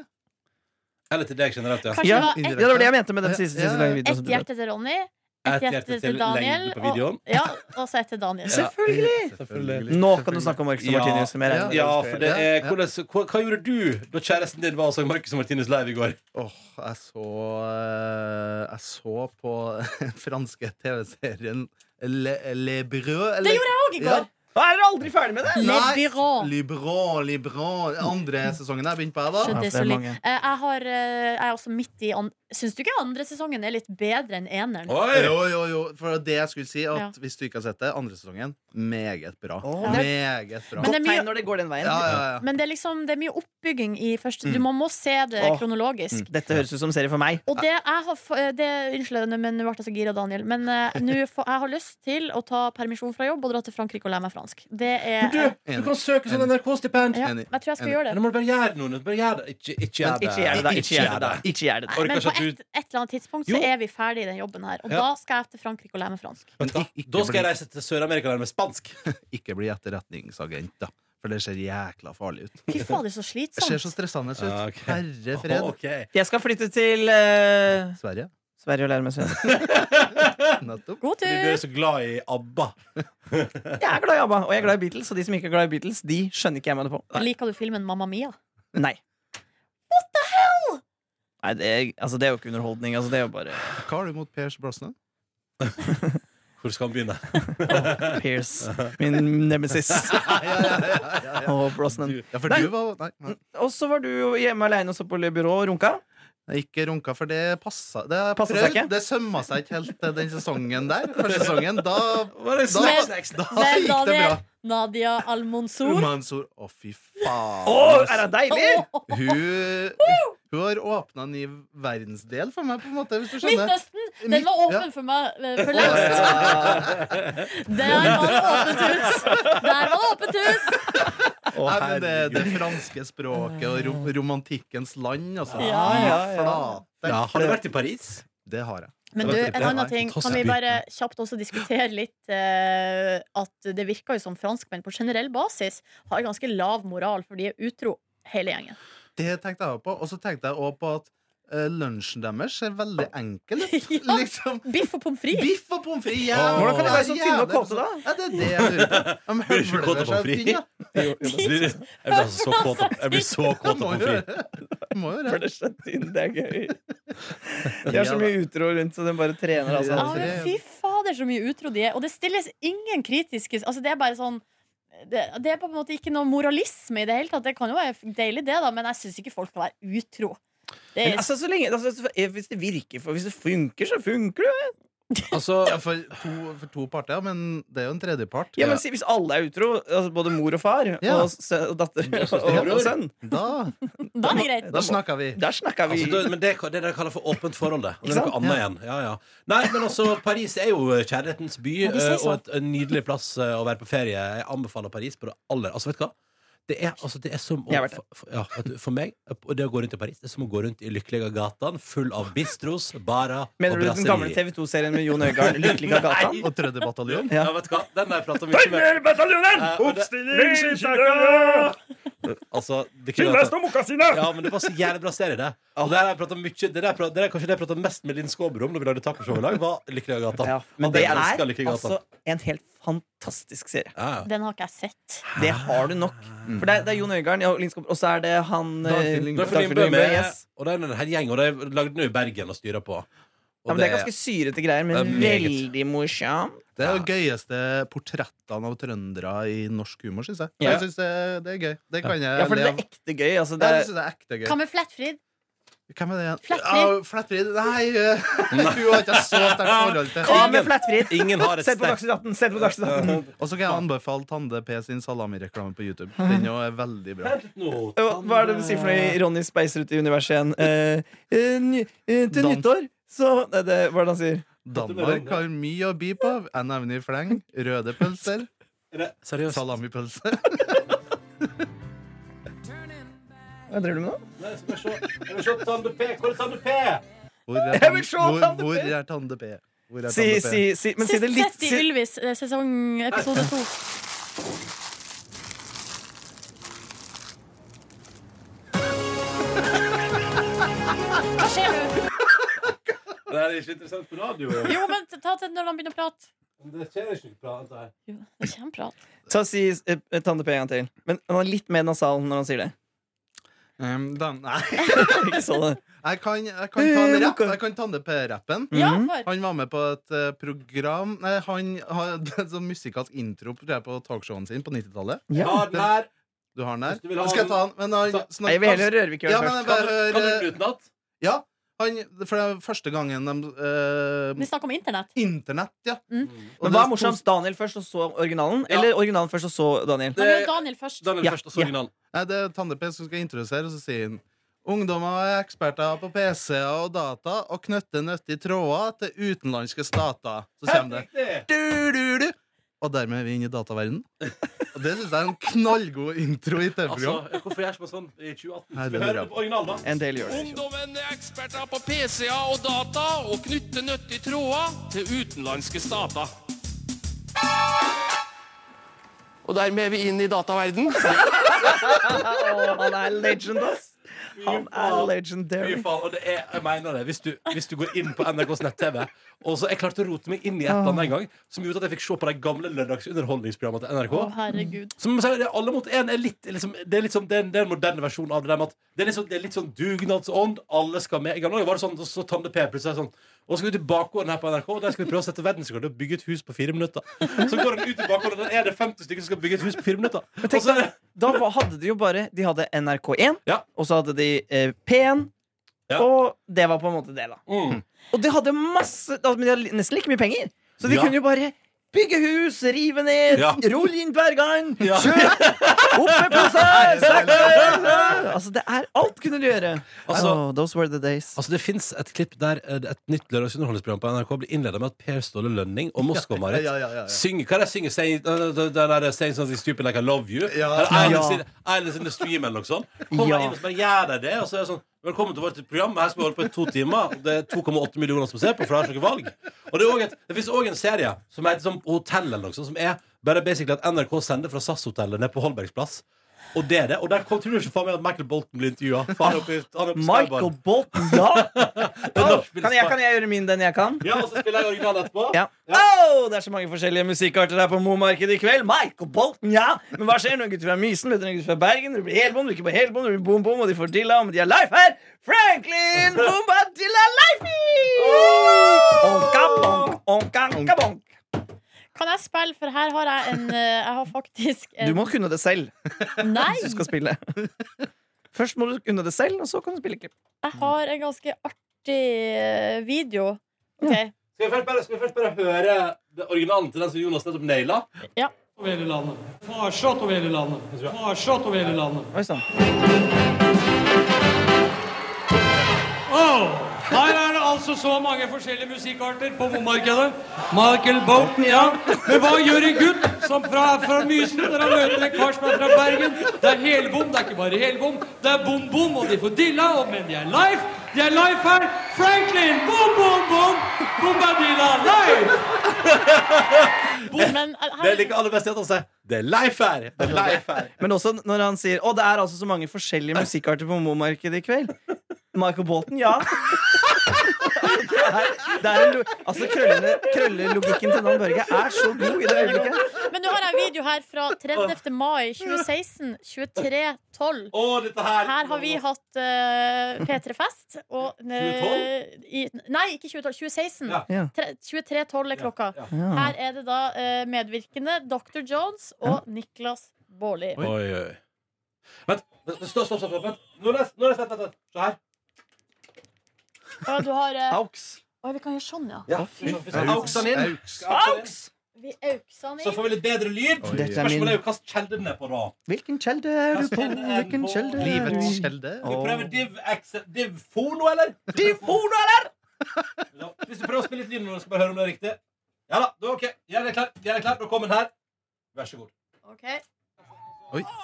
[SPEAKER 3] Eller til deg generelt, ja.
[SPEAKER 2] Kanskje det
[SPEAKER 4] Ja, Ja,
[SPEAKER 2] var
[SPEAKER 4] Det var det jeg mente med den
[SPEAKER 1] Ja,
[SPEAKER 4] siste,
[SPEAKER 1] ja,
[SPEAKER 4] siste
[SPEAKER 1] ja.
[SPEAKER 4] lange videoen.
[SPEAKER 2] ett, ett
[SPEAKER 4] Som du la ut.
[SPEAKER 2] hjerte til Ronny, ett hjerte til Daniel.
[SPEAKER 3] lengden på videoen.
[SPEAKER 2] Og, ja, og så et til Daniel.
[SPEAKER 4] Ja. Selvfølgelig!
[SPEAKER 1] Selvfølgelig.
[SPEAKER 4] Nå kan du snakke om Marcus og
[SPEAKER 3] Ja.
[SPEAKER 4] Martinus. som jeg regner med
[SPEAKER 3] Ja,
[SPEAKER 4] dere skal
[SPEAKER 3] for
[SPEAKER 4] gjøre.
[SPEAKER 3] det er,
[SPEAKER 1] Ja, ja.
[SPEAKER 3] hvordan, hva, hva gjorde du da kjæresten din var og så Marcus og Martinus live i går?
[SPEAKER 1] Åh, jeg så eh, Jeg så på den franske TV-serien Le, Le Breu.
[SPEAKER 2] Det gjorde jeg òg i går!
[SPEAKER 4] Hva, Er dere aldri ferdig med det?
[SPEAKER 2] Le Bureau.
[SPEAKER 1] Libran, Libran. Andre sesongen jeg begynte på, jeg,
[SPEAKER 2] Skjønte
[SPEAKER 1] da.
[SPEAKER 4] Ja,
[SPEAKER 2] jeg så
[SPEAKER 4] for det er
[SPEAKER 2] litt.
[SPEAKER 4] mange.
[SPEAKER 2] Eh, Jeg, har, eh, jeg er også midt i an Syns du ikke andre sesongen er litt bedre enn eneren?
[SPEAKER 3] Oi!
[SPEAKER 1] Jo, jo, jo. For det jeg skulle si, at
[SPEAKER 2] Ja.
[SPEAKER 1] hvis du ikke har sett det, andre sesongen, meget bra.
[SPEAKER 4] Åh.
[SPEAKER 1] Meget bra.
[SPEAKER 2] Men
[SPEAKER 4] Godt
[SPEAKER 2] det er mye-
[SPEAKER 4] tegn når det går den veien.
[SPEAKER 1] Ja, ja, ja.
[SPEAKER 2] Men det er liksom Det er mye oppbygging i første
[SPEAKER 1] Mm.
[SPEAKER 2] Du må, må se det
[SPEAKER 4] Åh.
[SPEAKER 2] kronologisk.
[SPEAKER 4] Dette høres ut som serie for meg.
[SPEAKER 2] Og det jeg har f- eh, det, Unnskyld, men nå ble jeg så gira, Daniel. Men eh, nå får- jeg har lyst til å ta permisjon fra jobb og dra til Frankrike og lære meg fransk. Det er
[SPEAKER 3] Men du, du kan søke sånn NRK-stipend.
[SPEAKER 2] ja,
[SPEAKER 1] enig,
[SPEAKER 2] Jeg tror jeg skal
[SPEAKER 1] enig.
[SPEAKER 2] gjøre
[SPEAKER 3] Eller
[SPEAKER 2] det.
[SPEAKER 3] må du bare gjøre det, Nordnes? Bare gjør det. Ikke, ikke gjør
[SPEAKER 4] Men
[SPEAKER 3] det.
[SPEAKER 4] ikke gjør det, da. Ikke gjør det, da. Ikke gjør det. da.
[SPEAKER 3] Orker
[SPEAKER 2] Men på
[SPEAKER 3] ikke at
[SPEAKER 2] et,
[SPEAKER 3] du-
[SPEAKER 2] et eller annet tidspunkt
[SPEAKER 3] Jo.
[SPEAKER 2] så er vi ferdig i den jobben her. Og
[SPEAKER 3] Ja.
[SPEAKER 2] da skal jeg til Frankrike og lære meg fransk.
[SPEAKER 1] Men
[SPEAKER 3] Da,
[SPEAKER 1] ikke-
[SPEAKER 3] da skal jeg
[SPEAKER 1] bli-
[SPEAKER 3] reise til Sør-Amerika og lære meg spansk.
[SPEAKER 1] Ikke bli etterretningsagent, da. For det ser jækla farlig ut.
[SPEAKER 2] Fy fader, så
[SPEAKER 1] Det ser
[SPEAKER 2] slitsomt.
[SPEAKER 1] så stressende ut.
[SPEAKER 3] Ja, ok.
[SPEAKER 1] Herre fred.
[SPEAKER 3] Ok.
[SPEAKER 4] Jeg skal flytte til eh,
[SPEAKER 1] Sverige.
[SPEAKER 4] Sverige og lære meg svensk.
[SPEAKER 1] Nettopp.
[SPEAKER 2] God
[SPEAKER 3] Du ble
[SPEAKER 2] tur!
[SPEAKER 3] så glad i ABBA.
[SPEAKER 4] Jeg er glad i ABBA, og jeg er glad i Beatles. Og de som ikke er glad i Beatles, de skjønner ikke jeg meg det på.
[SPEAKER 2] Liker du filmen Mamma Mia?
[SPEAKER 4] Nei. Nei, det er, altså, det er jo ikke underholdning. Altså, det er jo bare
[SPEAKER 1] Hva har du mot Pers Brosnan?
[SPEAKER 3] Hvor skal han begynne?
[SPEAKER 4] Pierce, min nemesis. Og Brosnan.
[SPEAKER 1] Ja, for
[SPEAKER 4] Nei.
[SPEAKER 1] du var Nei. nei.
[SPEAKER 4] Og så var du jo hjemme aleine og så på Le Bureau og runka.
[SPEAKER 1] Jeg ikke runka, for det passa Det, har jeg
[SPEAKER 4] Passet
[SPEAKER 1] prøvd.
[SPEAKER 4] seg ikke?
[SPEAKER 1] det sømma seg ikke helt eh, den sesongen der. Første sesongen, da,
[SPEAKER 3] Var det
[SPEAKER 1] da,
[SPEAKER 2] Men-
[SPEAKER 1] da
[SPEAKER 2] Men
[SPEAKER 1] gikk det
[SPEAKER 2] Daniel,
[SPEAKER 1] bra.
[SPEAKER 2] Nadia Al-Monsour
[SPEAKER 1] Mansour, å fy faen.
[SPEAKER 4] Å, er det deilig?
[SPEAKER 1] Hun, hun har åpna ny verdensdel for meg, på en måte, hvis du skjønner.
[SPEAKER 2] Midtøsten! Den var
[SPEAKER 1] Midt- ja.
[SPEAKER 2] åpen for meg eh, for lengst. Der var det åpent hus! Der var det åpent hus!
[SPEAKER 1] Nei, men det, det franske språket og rom romantikkens land, altså.
[SPEAKER 2] Ja,
[SPEAKER 4] ja, ja.
[SPEAKER 1] Flate.
[SPEAKER 3] Ja, har du vært i Paris?
[SPEAKER 1] Det har jeg.
[SPEAKER 2] Men
[SPEAKER 3] Det
[SPEAKER 2] du, en
[SPEAKER 3] var trivelig.
[SPEAKER 2] annen
[SPEAKER 3] Det var
[SPEAKER 2] ting. Kan
[SPEAKER 3] fantastisk
[SPEAKER 2] vi
[SPEAKER 3] by.
[SPEAKER 2] bare kjapt også diskutere litt eh, at det virker jo som franskmenn på generell basis har ganske lav moral, for de er utro, hele gjengen.
[SPEAKER 1] Det tenkte jeg også på. Og så tenkte jeg også på at eh, lunsjen deres ser veldig enkel ut.
[SPEAKER 2] Ja.
[SPEAKER 1] Liksom
[SPEAKER 2] Biff og pommes frites!
[SPEAKER 1] Biff og pommes frites.
[SPEAKER 4] Hvordan kan de være så tynne og kåte, da?
[SPEAKER 1] Ja, det er det jeg lurer på. De
[SPEAKER 3] Blir ikke kåt av pommes
[SPEAKER 1] høvler seg
[SPEAKER 3] frites?
[SPEAKER 1] tynn, da.
[SPEAKER 3] Jeg blir altså så kåt av- jeg blir så kåt av
[SPEAKER 1] Må
[SPEAKER 3] pommes
[SPEAKER 1] jo
[SPEAKER 3] frites.
[SPEAKER 1] det. Må jo
[SPEAKER 4] For det
[SPEAKER 1] det.
[SPEAKER 4] er så tynn, det er gøy. De har så mye utro rundt, så den bare trener,
[SPEAKER 2] Ja,
[SPEAKER 4] altså.
[SPEAKER 1] Ja.
[SPEAKER 2] men fy fader, så mye utro de er. Og det stilles ingen kritiske Altså, det er bare sånn det, det er på en måte ikke noe moralisme i det hele tatt. Det kan jo være deilig, det, da, men jeg syns ikke folk skal være utro. Det
[SPEAKER 4] Men
[SPEAKER 2] er,
[SPEAKER 4] altså, så lenge, altså, så- eh, hvis det virker for Hvis det funker, så funker det.
[SPEAKER 3] Altså,
[SPEAKER 1] Ja, for to, for to parter, men det er jo en tredjepart.
[SPEAKER 4] Ja, men si- Hvis alle er utro, altså både mor og far
[SPEAKER 1] Ja.
[SPEAKER 4] og, sø, og datter og, og,
[SPEAKER 3] bror.
[SPEAKER 4] sønn
[SPEAKER 1] Da,
[SPEAKER 2] Da er det greit.
[SPEAKER 1] da snakker vi.
[SPEAKER 4] Der snakka vi!
[SPEAKER 3] altså, det, men det, det er det jeg kaller for åpent forhold, det. Og det er
[SPEAKER 4] Ikke
[SPEAKER 3] noe annet igjen. Ja, ja. Nei, men altså, Paris er jo kjærlighetens by,
[SPEAKER 2] Ja, de sier
[SPEAKER 3] eh, og
[SPEAKER 2] så.
[SPEAKER 3] et en nydelig plass eh, å være på ferie. Jeg anbefaler Paris på det aller Altså, vet du hva? Det er, altså, det er som å,
[SPEAKER 4] Jeg har vært der.
[SPEAKER 3] for, for- ja, vet du, for meg, og det å gå rundt i Paris, det er som å gå rundt i lykkelige gatan full av bistros, barer og
[SPEAKER 4] Mener du den gamle
[SPEAKER 3] brasserier.
[SPEAKER 4] TV2-serien med Jon Øigarden? Lykkelig av gatan?
[SPEAKER 1] Og Trønderbataljon.
[SPEAKER 3] Ja, vet du hva? Den har jeg prata mye med. Eh, og det- Altså, det kunne vært- Ja, men det var så jævlig bra serie, det. Og det der jeg pratet mye Det der, pra- det der kanskje det jeg prata mest med Linn Skåber om da vi lagde tacoshow i lag, var Lykkelige gata.
[SPEAKER 4] Ja, men
[SPEAKER 3] At
[SPEAKER 4] det
[SPEAKER 3] jeg
[SPEAKER 4] er
[SPEAKER 3] elsker Lykkelige gata.
[SPEAKER 4] altså en helt fantastisk serie.
[SPEAKER 3] Ja, ja.
[SPEAKER 2] Den har ikke jeg sett.
[SPEAKER 4] Det har du nok. For det er, det er Jon Øigarden, ja, Linn Skåber, og så er det han eh,
[SPEAKER 1] Dagfinn Lyngbø.
[SPEAKER 3] Nå er
[SPEAKER 4] Dagfinn
[SPEAKER 3] Linn Bø
[SPEAKER 4] Lyngbø,
[SPEAKER 3] med,
[SPEAKER 4] yes.
[SPEAKER 3] og det er en hel gjeng, og de lagde den jo i Bergen og styrer på. Og
[SPEAKER 4] Ja, men det er ganske syrete greier,
[SPEAKER 3] Det
[SPEAKER 4] men
[SPEAKER 3] er meget.
[SPEAKER 4] veldig morsomt.
[SPEAKER 1] Det er jo gøyeste portrettene av trøndere i norsk humor, syns jeg.
[SPEAKER 4] Ja.
[SPEAKER 1] Jeg synes det, det er gøy. Det kan jeg
[SPEAKER 4] Ja, for det
[SPEAKER 1] le
[SPEAKER 4] er
[SPEAKER 1] av.
[SPEAKER 4] ekte gøy. Altså,
[SPEAKER 1] Ja,
[SPEAKER 4] det
[SPEAKER 1] det
[SPEAKER 4] er,
[SPEAKER 1] synes jeg er ekte gøy.
[SPEAKER 2] Hva med Flettfrid?
[SPEAKER 1] Hvem er det igjen?
[SPEAKER 2] Flettfrid.
[SPEAKER 1] Ja, Flettfrid. Nei, eh, hun har ikke jeg så sterkt forhold til.
[SPEAKER 4] hva med Flettfrid?
[SPEAKER 3] Ingen har et
[SPEAKER 4] Sett på
[SPEAKER 3] sterkt
[SPEAKER 4] Dagsnytt 18! Sett på Dagsnytt 18.
[SPEAKER 1] Og så kan jeg anbefale Tande P sin salamireklame på YouTube. Den jo er veldig bra.
[SPEAKER 4] Hva hva er det de sier for noe i Ronny Speiser ute i universet igjen? Eh, eh, ny, eh, til
[SPEAKER 1] Dans.
[SPEAKER 4] nyttår så Nei, det, Hva er det han sier?
[SPEAKER 1] Danmark har mye å by på. Jeg nevner i fleng røde pølser,
[SPEAKER 3] Seriøst.
[SPEAKER 1] salamipølse
[SPEAKER 4] Hva driver du med nå?
[SPEAKER 3] Nei, skal vi se. Jeg vil se Tande P. Hvor er Tande P?
[SPEAKER 1] Hvor er,
[SPEAKER 4] Jeg vil
[SPEAKER 1] Tan-
[SPEAKER 4] se
[SPEAKER 1] hvor,
[SPEAKER 4] Tande P.
[SPEAKER 1] hvor er Tande P? Hvor er
[SPEAKER 4] Si,
[SPEAKER 1] Tande P?
[SPEAKER 4] si, si, men si
[SPEAKER 2] Sett
[SPEAKER 4] det litt
[SPEAKER 2] sett i
[SPEAKER 4] si,
[SPEAKER 2] Ylvis eh, sesong episode to. Hva skjer nå?
[SPEAKER 3] Det er ikke interessant på radio. jo.
[SPEAKER 2] Jo, men ta til når han begynner å prate.
[SPEAKER 3] Det skjer ikke på annet her.
[SPEAKER 2] Jo, det kommer prat.
[SPEAKER 4] Ta si eh, Tande P en gang til. Men han er litt mer nasal når han sier det.
[SPEAKER 1] Um, Dan- nei.
[SPEAKER 4] Ikke sånn. så det.
[SPEAKER 1] Jeg kan, jeg kan ta en rapp. Jeg kan Tande P-rappen.
[SPEAKER 2] Ja,
[SPEAKER 4] Mhm.
[SPEAKER 2] for
[SPEAKER 1] Han var med på et eh, program Nei, han hadde en sånn musikalsk intro tror jeg, på talkshowen sin på 90-tallet.
[SPEAKER 4] Ja.
[SPEAKER 3] Ta den her.
[SPEAKER 1] Du har den der?
[SPEAKER 3] Hvis du vil ha
[SPEAKER 1] Nå skal jeg ta den? Men han
[SPEAKER 3] Ta-
[SPEAKER 1] snakker-
[SPEAKER 4] Nei, Jeg vil heller høre Rørvik gjøre
[SPEAKER 1] Ja,
[SPEAKER 4] det
[SPEAKER 1] men
[SPEAKER 4] først.
[SPEAKER 1] jeg bare
[SPEAKER 3] Kan du- kan du
[SPEAKER 1] hører
[SPEAKER 3] den utenat?
[SPEAKER 1] Ja. Han, for det er første gangen de eh,
[SPEAKER 2] vi snakker om internett.
[SPEAKER 1] Internett, ja.
[SPEAKER 2] Mm.
[SPEAKER 4] Men
[SPEAKER 1] Og det
[SPEAKER 4] hva er
[SPEAKER 1] sto-
[SPEAKER 4] morsomst? Daniel først, og så originalen?
[SPEAKER 3] Ja.
[SPEAKER 4] Eller originalen først, og så Daniel?
[SPEAKER 2] Han gjør Daniel først.
[SPEAKER 3] Daniel
[SPEAKER 4] Ja,
[SPEAKER 3] først, og så
[SPEAKER 4] ja.
[SPEAKER 3] originalen.
[SPEAKER 1] Nei, det er Tande P som skal introdusere, og så sier han Ungdommer er eksperter på PC-er og data og knytter nyttige tråder til utenlandske stater. Så kommer det
[SPEAKER 3] Riktig!
[SPEAKER 1] du, du, du. Og dermed er vi inne i dataverdenen. Og det syns jeg er en knallgod intro i
[SPEAKER 3] Altså,
[SPEAKER 1] TV-program.
[SPEAKER 3] hvorfor gjør man sånn i 2018?
[SPEAKER 1] Nei,
[SPEAKER 3] Skal
[SPEAKER 1] den
[SPEAKER 3] vi
[SPEAKER 1] er
[SPEAKER 3] høre
[SPEAKER 1] bra.
[SPEAKER 3] på originalen, da?
[SPEAKER 4] En del gjør det. ikke.
[SPEAKER 6] Ungdommen er eksperter på PC-er og data og knytter nyttige tråder til utenlandske stater. Og dermed er vi inn i dataverden.
[SPEAKER 4] Å, Han er legend, ass! Han er
[SPEAKER 3] Fy
[SPEAKER 4] legendary.
[SPEAKER 3] faen, og det er, jeg mener det hvis du, hvis du går inn på NRKs nett-TV Og så jeg klarte å rote meg inn i et eller annet en gang Som gjorde at jeg fikk se på de gamle lørdagsunderholdningsprogrammene til
[SPEAKER 2] Å,
[SPEAKER 3] NRK
[SPEAKER 2] herregud.
[SPEAKER 3] Som sier, det er alle mot en er litt, liksom, Det er litt sånn, det er en, det er en moderne versjon av det der med at Det er litt sånn, det er litt sånn dugnadsånd Alle skal med I gamle dager var det sånn, så Tande P plutselig er sånn Og så skal vi til bakgården her på NRK Og der skal vi prøve å sette verdensrekord Og bygge et hus på fire minutter Så går den ut i bakgården og Der er det 50 stykker som skal bygge et hus på fire minutter Og så er det
[SPEAKER 4] Da var- hadde de jo bare De hadde NRK1,
[SPEAKER 3] Ja.
[SPEAKER 4] og så hadde de eh, P1,
[SPEAKER 3] Ja.
[SPEAKER 4] og det var på en måte det, da.
[SPEAKER 3] mm,
[SPEAKER 4] Og de hadde masse da- Men de hadde nesten like mye penger, så de
[SPEAKER 3] Ja.
[SPEAKER 4] kunne jo bare Bygge hus, rive ned,
[SPEAKER 3] Ja.
[SPEAKER 4] rulle inn hver gang,
[SPEAKER 3] Ja.
[SPEAKER 4] kjøp, opp med poser! sakte! Altså, det er alt kunne du gjøre.
[SPEAKER 3] Altså-
[SPEAKER 4] oh, those were the days.
[SPEAKER 3] Altså Det fins et klipp der eh, et nytt lørdagsunderholdningsprogram på NRK blir innleda med at Per Ståle Lønning og Moskva-Marit
[SPEAKER 1] Ja, ja, ja, ja.
[SPEAKER 3] synger Hva er det de synger? Say, uh, den der, saying something stupid like I love you?
[SPEAKER 1] Ja.
[SPEAKER 3] Eller Islands,
[SPEAKER 4] Ja.
[SPEAKER 3] in, Islands in the stream, eller noe sånt. liksom. Kommer
[SPEAKER 4] Ja.
[SPEAKER 3] inn og så bare gjør de det, og så er det sånn Velkommen til vårt program. Her skal vi holde på i to timer. Det er 2,8 millioner som ser på, for det har ikke noe valg. Og Det, er også et- det fins òg en serie som heter sånn Hotell eller noe sånt, som er bare basically at NRK sender fra SAS-hotellet ned på Holbergs plass. Og det er det. Og der kom, tror du ikke faen meg at Michael Bolton blir intervjua.
[SPEAKER 4] Michael Bolton, ja! Oh, kan, jeg, kan jeg gjøre min den jeg kan?
[SPEAKER 3] Ja, og så spiller jeg originalen etterpå.
[SPEAKER 4] Ja. Åh, det er så mange forskjellige musikkarter her på Mo-markedet i kveld. Michael Bolton, ja! Men hva skjer når gutter fra Mysen møter en gutt fra Bergen? Det blir helbom, det blir ikke på helbom, det blir bom-bom, og de får dilla, men de har life her! Franklin Bombadilla Lifey! Onka, bonk, onka, onka, bonk.
[SPEAKER 2] Kan jeg spille, for her har jeg en eh, Jeg har faktisk en
[SPEAKER 4] Du må kunne det selv
[SPEAKER 2] Nei!
[SPEAKER 4] hvis du skal spille. Først må du kunne det selv, og så kan du spille klipp.
[SPEAKER 2] Jeg har en ganske artig eh, video. Ok,
[SPEAKER 3] Skal vi først bare, skal vi først bare høre det originalen til den som Jonas nettopp naila?
[SPEAKER 2] Ja.
[SPEAKER 7] over hele landet. Farsott over hele landet. Farsott over hele landet.
[SPEAKER 4] Oi sånn. sann.
[SPEAKER 7] Åh! Her er det altså så mange forskjellige musikkarter på bommarkedet. Michael Bolton, ja. Men hva gjør en gutt som fra, fra Mysen når han møter en kar som er fra Bergen? Det er helbom, det er ikke bare helbom. Det er bom-bom, og de får dilla, og, men de er live. De er live her. Franklin! Bom-bom-bom! Bombadilla live!
[SPEAKER 2] Men eh,
[SPEAKER 3] Det
[SPEAKER 2] her,
[SPEAKER 3] liker aller best at han sier Det er Leif her! Det er Leif her.
[SPEAKER 4] Men også når han sier Å, det er altså så mange forskjellige musikkarter på Momarkedet i kveld. Michael Bolton, ja. Det er, det er en, lo- altså krøllene, Krøllelogikken til Dan Børge er så god i det øyeblikket.
[SPEAKER 2] men nå har jeg en video her fra 30. mai 2016. 23.12.
[SPEAKER 3] Å, dette her
[SPEAKER 2] Her har vi hatt eh, P3-fest. og, eh, i- Nei, ikke 2012. 2016.
[SPEAKER 4] Ja.
[SPEAKER 2] Tre- 23.12 er klokka. Her er det da eh, medvirkende Dr. Jones og Niklas Baarli.
[SPEAKER 3] Oi, oi. Vent. vent, Stopp, stopp, stopp. stopp, vent. Nordnes, Nordnes, vent, vent, vent. Se her.
[SPEAKER 2] Ja, du har eh,
[SPEAKER 4] Aux.
[SPEAKER 2] Oi, vi kan gjøre sånn, ja.
[SPEAKER 3] Ja. Vi skal- vi skal
[SPEAKER 1] Aux.
[SPEAKER 3] aukse den inn.
[SPEAKER 1] Aux.
[SPEAKER 3] Skal aukse den inn.
[SPEAKER 2] Vi auksa den
[SPEAKER 3] Så
[SPEAKER 2] inn.
[SPEAKER 3] får vi litt bedre lyd.
[SPEAKER 1] Oi.
[SPEAKER 4] Dette er
[SPEAKER 3] Spørsmålet er
[SPEAKER 4] min
[SPEAKER 3] jo hvilken kjelde den er på, da.
[SPEAKER 4] Hvilken kjelde er du på? Hvilken kjelde er du
[SPEAKER 1] Livets
[SPEAKER 4] i?
[SPEAKER 1] kjelde.
[SPEAKER 3] Skal vi
[SPEAKER 4] Åh.
[SPEAKER 3] prøve div, ex- div fono, eller? Div fono, eller? Ja. Hvis du prøver å spille litt lyd nå, skal vi bare høre om det er riktig. Ja da, da er ok. Gjør deg klar. Gjør deg klar. Nå kommer den her. Vær så god.
[SPEAKER 2] Ok.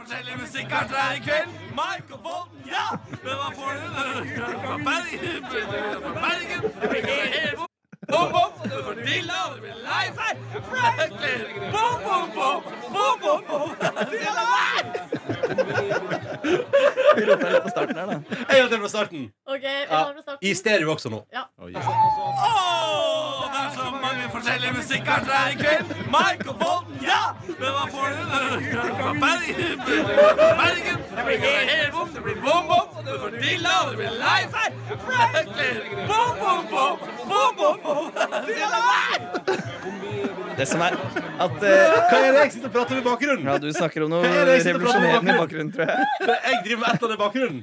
[SPEAKER 6] Forskjellige musikkarter her i kveld. Mike og Bolten, ja! Men hva får du? Fra Bergen, fra Bergen. Det blir helt bom, bom, bom. Det blir dilla, det blir live her. Franklin! Bom, bom, bom, bom, bom, bom. Dilla meg!
[SPEAKER 3] En gang til fra starten.
[SPEAKER 2] ok, vi har med starten.
[SPEAKER 3] I stereo også nå. Altså,
[SPEAKER 6] Åh, det er så mange forskjellige musikkarter her i kveld. Mike og Bolten, ja! Men hva får du? Fra Bergen, fra Bergen. Det blir helt bom, det blir bom, bom. Det blir dilla, det blir live her. Franklin! Bom, bom, bom, bom, bom, bom. Dilla meg!
[SPEAKER 4] Det som er at eh,
[SPEAKER 3] Hva er det jeg sitter og prater med i bakgrunnen?
[SPEAKER 4] Ja, du snakker om noe
[SPEAKER 3] Hva er det jeg sitter og prater om
[SPEAKER 4] revolusjonerende i
[SPEAKER 3] bakgrunnen?
[SPEAKER 4] bakgrunnen, tror jeg.
[SPEAKER 3] Jeg driver med et eller annet i bakgrunnen.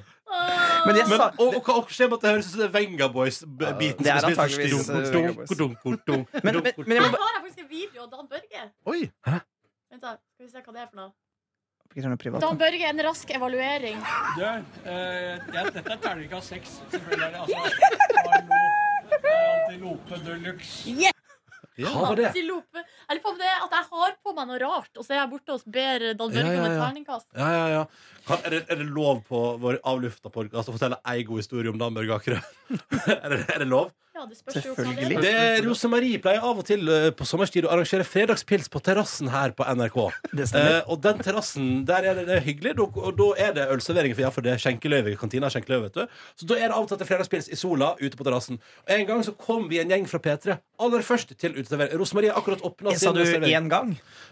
[SPEAKER 4] Men jeg
[SPEAKER 3] Men,
[SPEAKER 4] sa,
[SPEAKER 3] og, og hva skjer med at det høres ut som det er Venga Boys-biten?
[SPEAKER 4] Det er
[SPEAKER 3] som spilt
[SPEAKER 4] antageligvis,
[SPEAKER 3] først?
[SPEAKER 4] eh, Venga Boys.
[SPEAKER 3] Dunk, dunk, dunk, dunk,
[SPEAKER 4] men,
[SPEAKER 3] dunk.
[SPEAKER 4] men, men jeg
[SPEAKER 2] Her
[SPEAKER 4] må bare
[SPEAKER 2] har jeg faktisk en video av Dan Børge.
[SPEAKER 1] Oi!
[SPEAKER 2] Vent da, Skal vi se hva det er for noe.
[SPEAKER 4] Ikke gjør noe privat, da.
[SPEAKER 2] Dan Børge, en rask evaluering.
[SPEAKER 7] Du, eh, dette er terningkast seks. Selvfølgelig. Altså, Antilope de luxe.
[SPEAKER 3] Hva var det?
[SPEAKER 2] Til Lope. Jeg lurer på om det er at jeg har på meg noe rart, og så er jeg borte og ber Dan Børge
[SPEAKER 3] Ja, ja,
[SPEAKER 2] om et
[SPEAKER 3] ja.
[SPEAKER 2] terningkast.
[SPEAKER 3] Ja, ja, ja. Kan, er, det, er det lov på vår avlufta podkast å fortelle ei god historie om Dan Børge Akerø? er, det- er det lov?
[SPEAKER 2] Ja, det spørs jo hva det
[SPEAKER 4] Selvfølgelig.
[SPEAKER 2] er.
[SPEAKER 3] Det Rosemarie pleier av og til eh, på sommerstid å arrangere fredagspils på terrassen her på NRK.
[SPEAKER 4] Det stemmer.
[SPEAKER 3] Eh, og den terrassen, der er det, det er hyggelig, da- og da er det ølservering, for, ja, for det er skjenkeløyve. Kantina er skjenkeløyve, vet du. Så da er det av og til at det er fredagspils i sola ute på terrassen. Og En gang så kom vi en gjeng fra P3 aller først til uteservering. Rosemarie har akkurat åpna
[SPEAKER 4] Eh, Sa du én gang?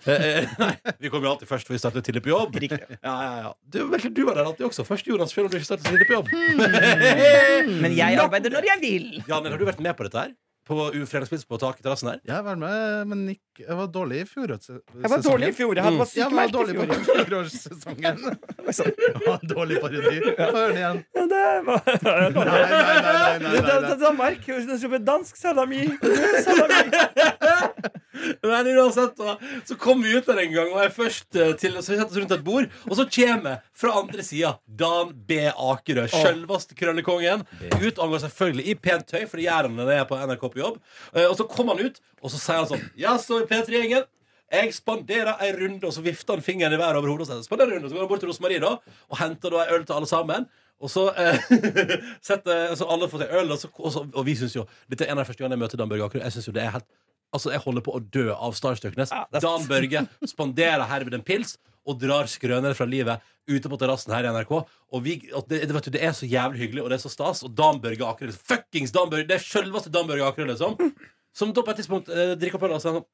[SPEAKER 3] Eh, Nei, vi kommer jo alltid først, for vi starter tidlig på jobb.
[SPEAKER 4] Riktig.
[SPEAKER 3] Ja, ja, ja. Du, virkelig, du var der alltid også. Først Jonas, selv om du ikke startet tidlig på jobb.
[SPEAKER 4] Men jeg arbeider når jeg vil.
[SPEAKER 3] Jan, har du vært med på dette her? På U- fredagspils på taket i terrassen her?
[SPEAKER 1] Jeg var med, men ikke- jeg var dårlig i fjorårssesongen.
[SPEAKER 4] Jeg var dårlig i fjor. altså, Jeg hadde- var sykt
[SPEAKER 1] Jeg Mm. var
[SPEAKER 4] merkelig i
[SPEAKER 1] dårlig på
[SPEAKER 4] fjor.
[SPEAKER 1] fjorårssesongen. Jeg var en Dårlig parodi. Få høre den igjen.
[SPEAKER 4] Ja, Det var
[SPEAKER 1] Nei, nei, nei, nei, nei, nei,
[SPEAKER 4] sånn
[SPEAKER 1] nei.
[SPEAKER 4] Danmark. Dansk salami. salami.
[SPEAKER 3] Men uansett, da, så kom vi ut der en gang, og jeg først eh, til, så vi setter oss rundt et bord, og så kommer fra andre sida Dan B. Akerø, sjølveste krøllekongen. Ut angår selvfølgelig i pent tøy, for det gjør han når han er på NRK på jobb. Eh, Og så kom han ut, og så sier han sånn Ja, så i P3-gjengen. Jeg spanderer ei runde, og så vifter han fingeren i været over hodet. Og sier, «Spander en runde, så går han bort til Rosmarie da, og henter da ei øl til alle sammen. Og så eh, setter, så alle får seg øl, og, så, og, så, og vi syns jo Dette er en av de første gangene jeg møter Dan Børge Akerø. Jeg synes jo det er helt Altså, jeg holder på å dø av starstøknes.
[SPEAKER 4] det er sant.
[SPEAKER 3] Dan Børge spanderer herved en pils og drar skrøner fra livet ute på terrassen her i NRK. Og, vi, og det, det, vet du, det er så jævlig hyggelig, og det er så stas. Og Dan Børge Akerø liksom, Fuckings Dan Børge! Det er sjølveste Dan Børge Akerø, liksom. Som da på et tidspunkt eh, drikker opp øl og sier sånn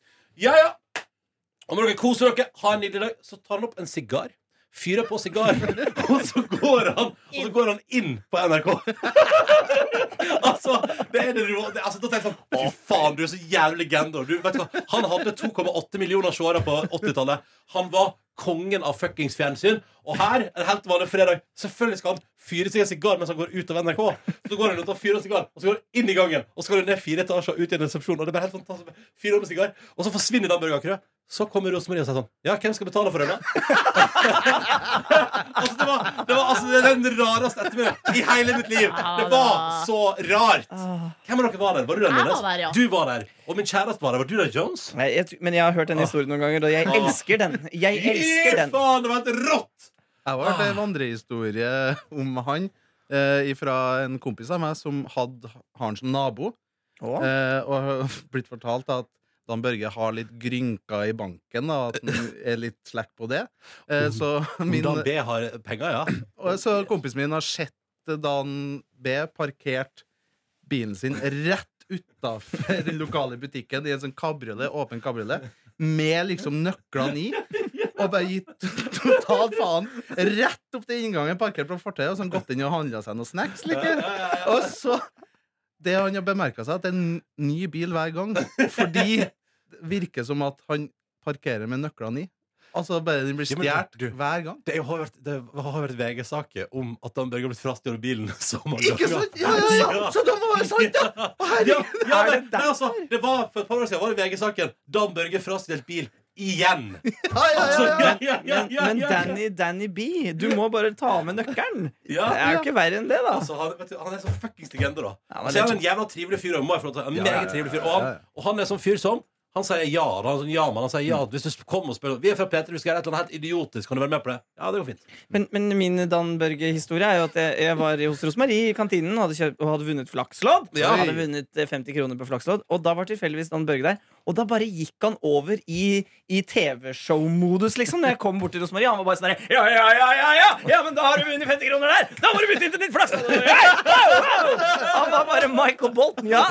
[SPEAKER 3] Ja, ja! Om dere koser dere, ha en nydelig dag. Så tar han opp en sigar, fyrer på sigar, og så går han Og så går han inn på NRK. altså, det er det rå, det, altså, Da tenker jeg sånn Fy faen, du er så jævlig gender. Du, vet du hva? Han hadde 2,8 millioner seere på 80-tallet. Han var kongen av fuckings fjernsyn. Og her, en helt vanlig fredag, selvfølgelig skal han fyre seg en sigar mens han går ut av NRK. Så går han rundt og fyrer en sigar, og så går han inn i gangen, og så går han ned fire etasjer og ut i en resepsjon, og det er bare helt fantastisk. Fyrer opp en sigar, og så forsvinner Dan Børge Akerø. Så kommer Rosemarie og sier sånn Ja, hvem skal betale for den, da? altså, det var, det var altså, det er den rareste ettermiddagen i hele mitt liv. Det var så rart.
[SPEAKER 4] Ah.
[SPEAKER 3] Hvem av dere var der? Var du der?
[SPEAKER 2] Ah, Jeg var
[SPEAKER 3] Nordnes?
[SPEAKER 2] der, ja.
[SPEAKER 3] Du var der. Og min kjæreste var der. Var du der, Jones?
[SPEAKER 4] Nei, jeg, tr- men jeg har hørt
[SPEAKER 3] Ah.
[SPEAKER 4] den historien noen ganger, og jeg elsker den. Jeg elsker den.
[SPEAKER 3] Fy faen, det var helt rått!
[SPEAKER 1] Jeg har hørt en vandrehistorie om han eh, fra en kompis av meg som hadde han som nabo.
[SPEAKER 4] Å.
[SPEAKER 1] Eh, og har blitt fortalt at Dan Børge har litt grynker i banken, da, at han er litt slack på det. Eh, så, min,
[SPEAKER 3] Dan B har penger, ja.
[SPEAKER 1] og så kompisen min har sett Dan B parkert bilen sin rett utafor den lokale butikken i en sånn kabriolet, åpen kabriolet, med liksom nøklene i. Og bare gitt totalt faen. Rett opp til inngangen, parkert på fortauet, og så har han gått inn og handla seg noen snacks. Liksom. Og så Det han har bemerka seg, at det er en ny bil hver gang. Fordi det virker som at han parkerer med nøklene i. Altså bare den blir
[SPEAKER 3] Ja, men
[SPEAKER 1] stjålet
[SPEAKER 3] du-
[SPEAKER 1] hver gang.
[SPEAKER 3] Det har vært, det har vært VG-saker om at Dan Børge har blitt frastjålet bilen. så mange
[SPEAKER 1] Ikke
[SPEAKER 3] ganger.
[SPEAKER 1] sant? Ja, ja, ja. Så det må være sant, ja!
[SPEAKER 3] Ja,
[SPEAKER 1] Å, Herregud.
[SPEAKER 3] ja, nei, nei, altså, det var For et par år siden var det VG-saken. Dan Børge frastjålet bil igjen.
[SPEAKER 1] Ja, ja, ja,
[SPEAKER 3] Altså,
[SPEAKER 1] ja.
[SPEAKER 3] ja, ja, ja,
[SPEAKER 4] Men,
[SPEAKER 3] ja,
[SPEAKER 4] men
[SPEAKER 3] ja.
[SPEAKER 4] Danny, Danny B, du må bare ta med nøkkelen.
[SPEAKER 3] Ah, Ja.
[SPEAKER 4] Det er jo ikke verre enn det, da.
[SPEAKER 3] Altså, han, vet du, han er så fuckings legende, da.
[SPEAKER 4] Ja, men
[SPEAKER 3] Altså, han er en jævla trivelig fyr. og Må jeg få lov til å- en meget trivelig fyr. Og han, og han er sånn fyr som han sier ja. da. Han er sånn ja, men han sier ja. Hvis du sp- kommer og spør Vi er fra P3, du skal gjøre et eller annet helt idiotisk. Kan du være med på det? Ja, det går fint.
[SPEAKER 4] Men, men min Dan Børge-historie er jo at jeg, jeg var hos Rosmarie i kantinen og hadde, kjøpt, og hadde vunnet flakslodd.
[SPEAKER 3] Ja.
[SPEAKER 4] Hadde vunnet eh, 50 kroner på flakslodd Og da var tilfeldigvis Dan Børge der. Og da bare gikk han over i, i TV-show-modus, liksom. Når jeg kom bort til Rosmarie, han var bare sånn der, Ja, ja, ja, ja, ja! Ja, men da har du vunnet 50 kroner der! Da må du bytte inn til ditt flakslodd! Hei! Wow, wow! Han var bare Michael Bolton, ja!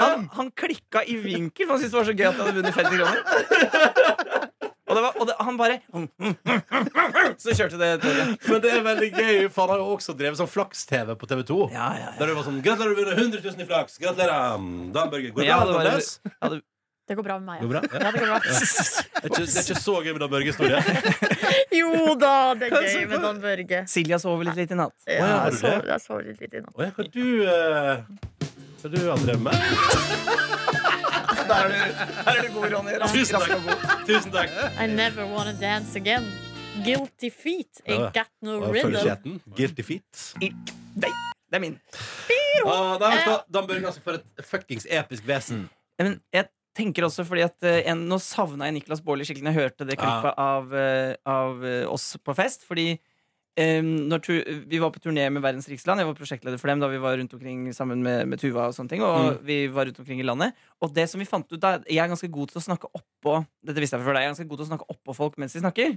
[SPEAKER 4] Han, han klikka i vinkel, for han syntes det var så gøy at jeg hadde vunnet 50 kroner. Og, det var, og det, han bare mm, Så kjørte det toget.
[SPEAKER 3] Men det er veldig gøy, for han har jo også drevet sånn flaks-TV på TV 2.
[SPEAKER 4] Ja, ja, ja.
[SPEAKER 3] Der det var sånn Gratulerer, du vinner 100 000 i flaks! Gratulerer! um, Dan Børge. Går
[SPEAKER 4] Men
[SPEAKER 3] det
[SPEAKER 4] jeg
[SPEAKER 3] bra?
[SPEAKER 4] hadde bare-
[SPEAKER 3] Anders?
[SPEAKER 4] jeg hadde-
[SPEAKER 2] Det går bra med meg.
[SPEAKER 3] Går
[SPEAKER 2] Ja.
[SPEAKER 3] det bra? Ja.
[SPEAKER 2] Ja, det går bra.
[SPEAKER 3] Det, er ikke, det er ikke så gøy med Dan Børges historie.
[SPEAKER 2] Jo da, det er gøy med Dan Børge.
[SPEAKER 4] Silja sover litt litt i natt.
[SPEAKER 2] Ja,
[SPEAKER 3] har
[SPEAKER 2] jeg
[SPEAKER 3] du
[SPEAKER 2] sov-
[SPEAKER 3] det?
[SPEAKER 2] jeg sov litt i natt.
[SPEAKER 3] Å ja, hva du eh, Hva du har drevet med?
[SPEAKER 4] Der er du, god, Ronny.
[SPEAKER 3] Tusen takk. Tusen takk.
[SPEAKER 2] I never wanna dance again. Guilty feet
[SPEAKER 3] Ja.
[SPEAKER 2] ain't got no
[SPEAKER 3] Og
[SPEAKER 2] rhythm.
[SPEAKER 3] følger skjeten. Guilty feet.
[SPEAKER 4] Det er min.
[SPEAKER 3] Ah, nei, vet du hva? Dan Børge altså for et fuckings episk vesen.
[SPEAKER 4] Men jeg tenker også fordi at eh, en, Nå savna jeg Niklas Baarli skikkelig når jeg hørte det
[SPEAKER 3] Ja.
[SPEAKER 4] klippet av, eh, av eh, oss på fest. Fordi eh, når tu, vi var på turné med Verdens rikesland, jeg var prosjektleder for dem da vi var rundt omkring sammen med, med Tuva og sånne ting. Og vi var rundt omkring i landet Og det som vi fant ut da Jeg er ganske god til å snakke oppå Dette visste jeg fra før, da, jeg er ganske god til å snakke oppå folk mens de snakker.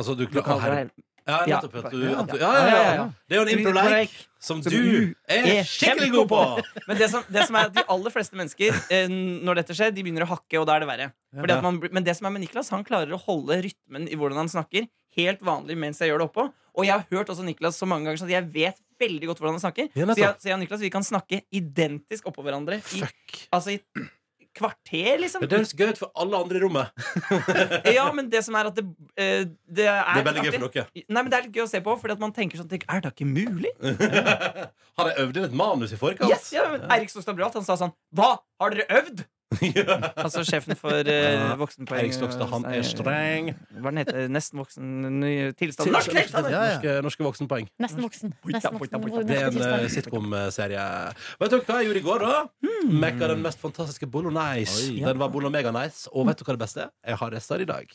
[SPEAKER 3] Altså, du
[SPEAKER 4] Lokal-
[SPEAKER 3] klarer Ja, nettopp. at du- at du- Ja, ja, ja. ja. Det er jo en impro-leik som du er skikkelig god på!
[SPEAKER 4] Men det som, det som er at de aller fleste mennesker, eh, når dette skjer, de begynner å hakke, og da er det verre. Fordi at man, blir- men det som er med Niklas, han klarer å holde rytmen i hvordan han snakker, helt vanlig mens jeg gjør det oppå. Og jeg har hørt også Niklas så mange ganger, så jeg vet veldig godt hvordan han snakker.
[SPEAKER 3] Ja,
[SPEAKER 4] så,
[SPEAKER 3] nettopp.
[SPEAKER 4] jeg, så jeg og Niklas, vi kan snakke identisk oppå hverandre. I,
[SPEAKER 3] Fuck.
[SPEAKER 4] altså i kvarter, liksom.
[SPEAKER 3] Men det høres gøy ut for alle andre i rommet.
[SPEAKER 4] Ja, men det som er at det, eh, det er
[SPEAKER 3] Det er veldig gøy
[SPEAKER 4] artig.
[SPEAKER 3] for dere.
[SPEAKER 4] Nei, men det er litt gøy å se på, fordi at man tenker sånn tenker, Er det ikke mulig?
[SPEAKER 3] Har jeg øvd inn et manus i forkant?
[SPEAKER 4] Yes, ja, men Eirik Stokstad Bralt han sa sånn Hva? Har dere øvd? Altså sjefen for uh, voksenpoeng.
[SPEAKER 3] Eirik Stokstad, han
[SPEAKER 4] eh,
[SPEAKER 3] er streng.
[SPEAKER 4] Hva den heter Nesten voksen ny tilstand.
[SPEAKER 3] Norske,
[SPEAKER 4] Norsk tilstand!
[SPEAKER 1] Ja, ja.
[SPEAKER 3] norske, norske voksenpoeng.
[SPEAKER 2] Nesten voksen. Nesten
[SPEAKER 4] boita, boita.
[SPEAKER 2] voksen.
[SPEAKER 3] Det er en eh,
[SPEAKER 2] Nesten
[SPEAKER 3] sitcom-serie. Vet dere hva jeg gjorde i går, da?
[SPEAKER 4] Hmm.
[SPEAKER 3] Mekka den mest fantastiske bolognese.
[SPEAKER 1] Oi.
[SPEAKER 3] Den var bolognese. Og vet du hva det beste er? Jeg har rester i dag.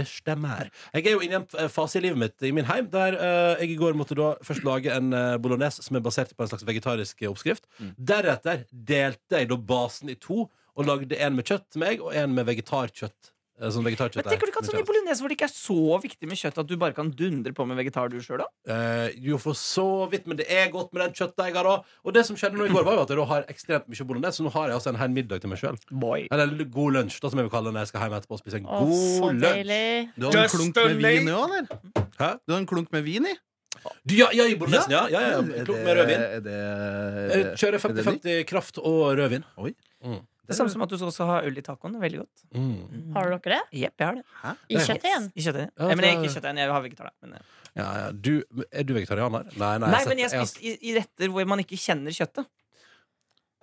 [SPEAKER 3] Det stemmer. Jeg er jo inne i en f- eh, fase i livet mitt i min heim der eh, jeg i går måtte da først lage en eh, bolognese som er basert på en slags vegetarisk eh, oppskrift.
[SPEAKER 4] Mm.
[SPEAKER 3] Deretter delte jeg da basen i to og lagde en med kjøtt til meg og en med vegetarkjøtt eh, Sånn vegetarkjøtt
[SPEAKER 4] Men tenker du ikke at sånn i bolognese hvor det ikke er så viktig med kjøtt, at du bare kan dundre på med vegetar du sjøl, da?
[SPEAKER 3] Eh, jo, for så vidt, men det er godt med den kjøttdeiga, da. Og det som skjedde nå i går, var jo at jeg da har ekstremt mye bolognese, så nå har jeg altså en hel middag til meg sjøl.
[SPEAKER 4] Boy.
[SPEAKER 3] Eller en god lunsj, da, som jeg vil kalle det når jeg skal hjem etterpå og spise
[SPEAKER 4] eh,
[SPEAKER 3] en
[SPEAKER 2] Å, så
[SPEAKER 3] god lunsj.
[SPEAKER 2] deilig.
[SPEAKER 1] Du har en
[SPEAKER 4] Just
[SPEAKER 1] klunk
[SPEAKER 4] a
[SPEAKER 1] med vin i òg, eller?
[SPEAKER 3] Hæ?
[SPEAKER 1] Du har en klunk med vin i?
[SPEAKER 3] Du, ja, ja, i bolognesen, ja. ja, ja,
[SPEAKER 1] Er
[SPEAKER 3] ja.
[SPEAKER 1] det-
[SPEAKER 3] Klump med rødvin.
[SPEAKER 1] Er det, er
[SPEAKER 3] Jeg
[SPEAKER 1] det,
[SPEAKER 3] kjører
[SPEAKER 1] er det nytt?
[SPEAKER 3] 50-50 kraft og rødvin.
[SPEAKER 1] Oi.
[SPEAKER 3] Mm.
[SPEAKER 4] Det er samme som at du også har øl i tacoen. Veldig godt.
[SPEAKER 3] Mm.
[SPEAKER 2] Har dere det?
[SPEAKER 4] Jepp, jeg har det.
[SPEAKER 2] I kjøttdeigen?
[SPEAKER 4] I kjøttdeigen.
[SPEAKER 3] Ja,
[SPEAKER 4] Nei, men jeg,
[SPEAKER 3] det er-
[SPEAKER 4] ikke kjøttdeigen, jeg har vegetar, da. Men, eh.
[SPEAKER 3] Ja, ja. Du, er du vegetarianer? Nei, nei.
[SPEAKER 4] Nei,
[SPEAKER 3] sett-
[SPEAKER 4] men jeg
[SPEAKER 3] har-
[SPEAKER 4] spiser i, i retter hvor man ikke kjenner kjøttet.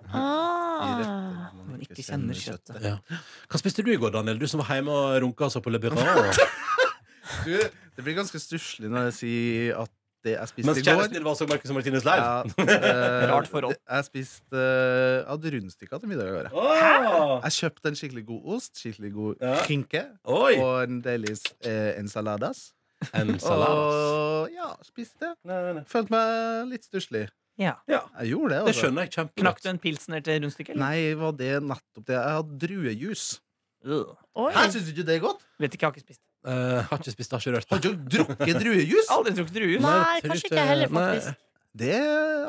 [SPEAKER 1] I
[SPEAKER 2] Ah.
[SPEAKER 1] retter
[SPEAKER 4] Man ikke kjenner kjøttet.
[SPEAKER 3] ja. Hva spiste du i går, Daniel? Du som var hjemme og runka og så på Le Bureau.
[SPEAKER 1] Du, det blir ganske stusslig når jeg sier at det jeg spiste
[SPEAKER 3] Mens
[SPEAKER 1] i
[SPEAKER 3] kjæresten
[SPEAKER 1] går
[SPEAKER 3] din var og så Marcus og Martinus live.
[SPEAKER 1] ja, eh,
[SPEAKER 4] Rart forhold.
[SPEAKER 1] Jeg spiste eh, jeg hadde rundstykker til middag i går. jeg.
[SPEAKER 3] Åh!
[SPEAKER 1] Jeg kjøpte en skikkelig god ost, skikkelig god
[SPEAKER 3] Ja.
[SPEAKER 1] skinke
[SPEAKER 3] Oi!
[SPEAKER 1] og en deilig eh, ensaladas.
[SPEAKER 3] En salat.
[SPEAKER 1] Og ja, spiste.
[SPEAKER 3] Nei, nei, nei.
[SPEAKER 1] Følte meg litt stusslig.
[SPEAKER 4] Ja.
[SPEAKER 1] Jeg gjorde det.
[SPEAKER 3] Det
[SPEAKER 1] Altså.
[SPEAKER 3] skjønner jeg
[SPEAKER 4] Knakk
[SPEAKER 3] kjempegodt.
[SPEAKER 4] du en pilsner til rundstykket? eller?
[SPEAKER 1] Nei, var det nettopp det? Jeg hadde druejus.
[SPEAKER 4] Øh.
[SPEAKER 2] Oi.
[SPEAKER 1] Hæ, Syns du ikke det er godt?
[SPEAKER 4] Vet ikke, jeg har ikke spist.
[SPEAKER 3] Eh, har ikke spist, har ikke rørt.
[SPEAKER 1] Har du ikke drukket druejus?
[SPEAKER 4] Aldri drukket druer.
[SPEAKER 2] Nei,
[SPEAKER 3] tror
[SPEAKER 2] kanskje
[SPEAKER 3] ikke-
[SPEAKER 2] ikke
[SPEAKER 4] eh,
[SPEAKER 2] jeg heller,
[SPEAKER 3] nei.
[SPEAKER 2] faktisk.
[SPEAKER 1] Det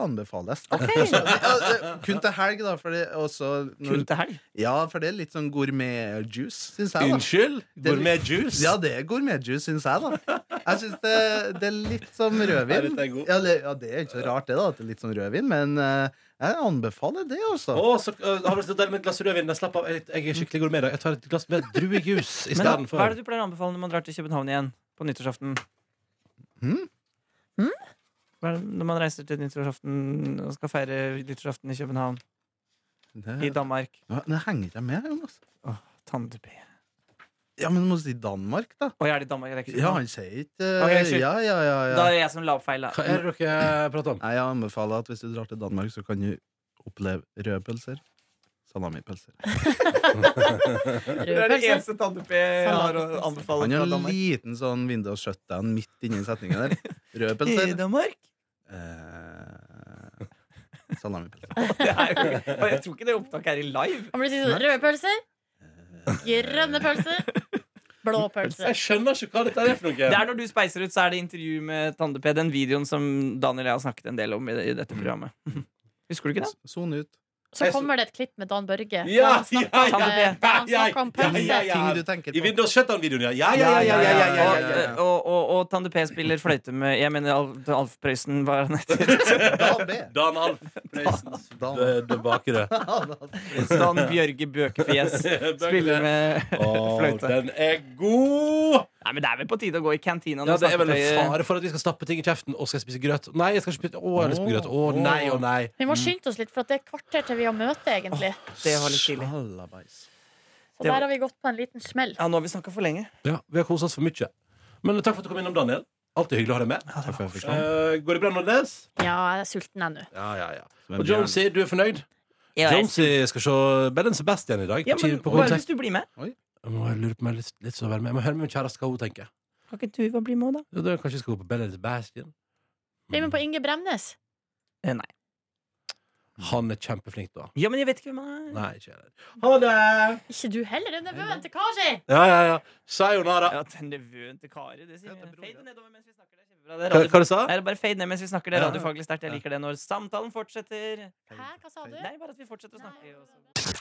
[SPEAKER 1] anbefales.
[SPEAKER 2] Ok.
[SPEAKER 1] Ja, Kun til helg, da. For det, er også, når,
[SPEAKER 4] Kun til helg.
[SPEAKER 1] ja, for det er litt sånn gourmetjuice, syns jeg. da
[SPEAKER 3] Unnskyld?
[SPEAKER 1] Det-
[SPEAKER 3] Gourmet juice?
[SPEAKER 1] Ja, det er gourmetjuice, syns jeg, da. Jeg synes det, det er litt som
[SPEAKER 3] Ja,
[SPEAKER 1] rødvin.
[SPEAKER 3] dette er god.
[SPEAKER 1] Ja, det, ja, det er ikke så rart, det, da. At det er litt som rødvin, men eh, jeg anbefaler det, altså.
[SPEAKER 3] Å, så eh, har du lyst til å dele med et glass rødvin? Nei, Slapp av, jeg, jeg er skikkelig gourmet. i dag. Jeg tar et glass med druejuice
[SPEAKER 4] Men hva er
[SPEAKER 3] istedenfor.
[SPEAKER 4] det du pleier å anbefale når man drar til København igjen på nyttårsaften? Hmm?
[SPEAKER 1] Hm?
[SPEAKER 2] Hm?
[SPEAKER 4] Hva er det Når man reiser til nyttårsaften og skal feire nyttårsaften i København, i
[SPEAKER 1] Det,
[SPEAKER 4] Danmark
[SPEAKER 1] det henger ikke jeg med, Jonas.
[SPEAKER 4] Tandbe.
[SPEAKER 1] Ja, men må du si Danmark, da?
[SPEAKER 4] Å, jeg er i Danmark, det er ikke
[SPEAKER 1] Ja,
[SPEAKER 4] København.
[SPEAKER 1] han sier ikke eh,
[SPEAKER 4] Ok, unnskyld.
[SPEAKER 1] Ja, ja, ja.
[SPEAKER 4] Da
[SPEAKER 1] ja.
[SPEAKER 4] er det jeg som la opp feil, da.
[SPEAKER 3] Hva er det dere prater om?
[SPEAKER 1] Nei, jeg anbefaler at hvis du drar til Danmark, så kan du oppleve røde pølser. Salamipølser.
[SPEAKER 4] Det er det
[SPEAKER 2] Rødpølse.
[SPEAKER 4] eneste tannepé jeg har å anbefale
[SPEAKER 1] Han
[SPEAKER 4] fra
[SPEAKER 1] har en
[SPEAKER 4] Danmark.
[SPEAKER 1] liten sånn Windows shutdown midt inni setningen der. Røde
[SPEAKER 4] I
[SPEAKER 1] pølser.
[SPEAKER 4] Danmark?
[SPEAKER 1] Eh, Salamipølser.
[SPEAKER 4] Det er jo, og jeg tror ikke det opptaket er i live.
[SPEAKER 2] Han blir sånn røde pølser, grønne pølser, blå pølser.
[SPEAKER 3] Jeg skjønner ikke hva dette er for noe.
[SPEAKER 4] Det er når du speiser ut, så er det intervju med Tande-P. Den videoen som Daniel og jeg har snakket en del om i, i dette programmet. Husker du ikke det?
[SPEAKER 1] Sone ut.
[SPEAKER 2] Så kommer det et klipp med Dan Børge. der
[SPEAKER 3] Ja,
[SPEAKER 2] han snakker om,
[SPEAKER 4] ja, ja,
[SPEAKER 2] eh, der han snakker om
[SPEAKER 3] ja, ja, ja,
[SPEAKER 2] pølse.
[SPEAKER 3] ja.
[SPEAKER 1] Ting du tenker
[SPEAKER 3] I
[SPEAKER 1] på.
[SPEAKER 3] Windows Shutdown-videoen, ja. Ja, ja, ja. ja, ja, ja, ja, ja.
[SPEAKER 4] Og, og, og, og Tande P spiller fløyte med Jeg mener Alf, Alf Prøysen, hva er han heter?
[SPEAKER 1] Dan B.
[SPEAKER 3] Dan Alf Prøysens
[SPEAKER 1] Dan.
[SPEAKER 3] døde bakere.
[SPEAKER 4] Dan Bjørge Bøkefjes spiller med
[SPEAKER 3] Å,
[SPEAKER 4] fløyte.
[SPEAKER 3] den er god!
[SPEAKER 4] Nei, men det er vel på tide å gå i kantina
[SPEAKER 3] Ja,
[SPEAKER 4] når
[SPEAKER 3] det er vel en
[SPEAKER 4] snakketøyet-
[SPEAKER 3] fare for at vi skal stappe ting i kjeften. Å, skal jeg spise grøt? Nei, jeg skal ikke spise Å, jeg har lyst på grøt. Å, nei, å, nei.
[SPEAKER 2] Vi
[SPEAKER 4] Mm.
[SPEAKER 2] må skynde oss litt, for at det er et kvarter til vi har møte, egentlig.
[SPEAKER 4] Det var litt tidlig.
[SPEAKER 1] Sjalabais.
[SPEAKER 2] Så
[SPEAKER 4] det var-
[SPEAKER 2] der har vi gått på en liten smell.
[SPEAKER 4] Ja, nå har vi snakka for lenge.
[SPEAKER 3] Ja, vi har koset oss for mye. Men takk for at du kom innom, Daniel. Alltid hyggelig å ha deg med.
[SPEAKER 1] Takk for at jeg fikk komme.
[SPEAKER 3] Eh, går det bra, Nordnes?
[SPEAKER 2] Ja, jeg er sulten ennå.
[SPEAKER 3] Ja, ja, ja.
[SPEAKER 1] Som en
[SPEAKER 3] Og Jonesy, du er fornøyd? Jonesy skal se Bellen Sebastian i dag.
[SPEAKER 4] Ja, men
[SPEAKER 3] på
[SPEAKER 4] hva er det
[SPEAKER 3] konsert.
[SPEAKER 4] hvis du blir med?
[SPEAKER 3] Nå må jeg lurer på meg litt, litt så å være med. Jeg må høre med min kjæreste hva hun tenker.
[SPEAKER 4] Kan ikke Tuva bli med òg, da?
[SPEAKER 3] Ja, da kanskje jeg skal gå på Bellen Sebastian.
[SPEAKER 2] Bli med på Inge Bremnes.
[SPEAKER 4] Eh, Nei.
[SPEAKER 3] Han er kjempeflink, da.
[SPEAKER 4] Ja, men jeg vet ikke hvem han er.
[SPEAKER 3] Nei, ikke jeg heller. Ha det!
[SPEAKER 2] Ikke du heller, den nevøen til Kari!
[SPEAKER 3] Ja, ja, ja. Sayonara.
[SPEAKER 4] Ja, den nevøen til Kari. Det sier
[SPEAKER 1] Ja, det er bror,
[SPEAKER 4] fade
[SPEAKER 1] ja.
[SPEAKER 4] nedover mens vi snakker. Det er kjempebra. Det er
[SPEAKER 3] Hva,
[SPEAKER 4] radio...
[SPEAKER 3] hva du sa
[SPEAKER 4] Nei, det er bare fade ned mens vi snakker. Det er
[SPEAKER 3] Ja.
[SPEAKER 4] radiofaglig sterkt. Jeg liker det når samtalen fortsetter.
[SPEAKER 2] Hæ, hva sa du?
[SPEAKER 4] Nei, bare at vi fortsetter å snakke. og så-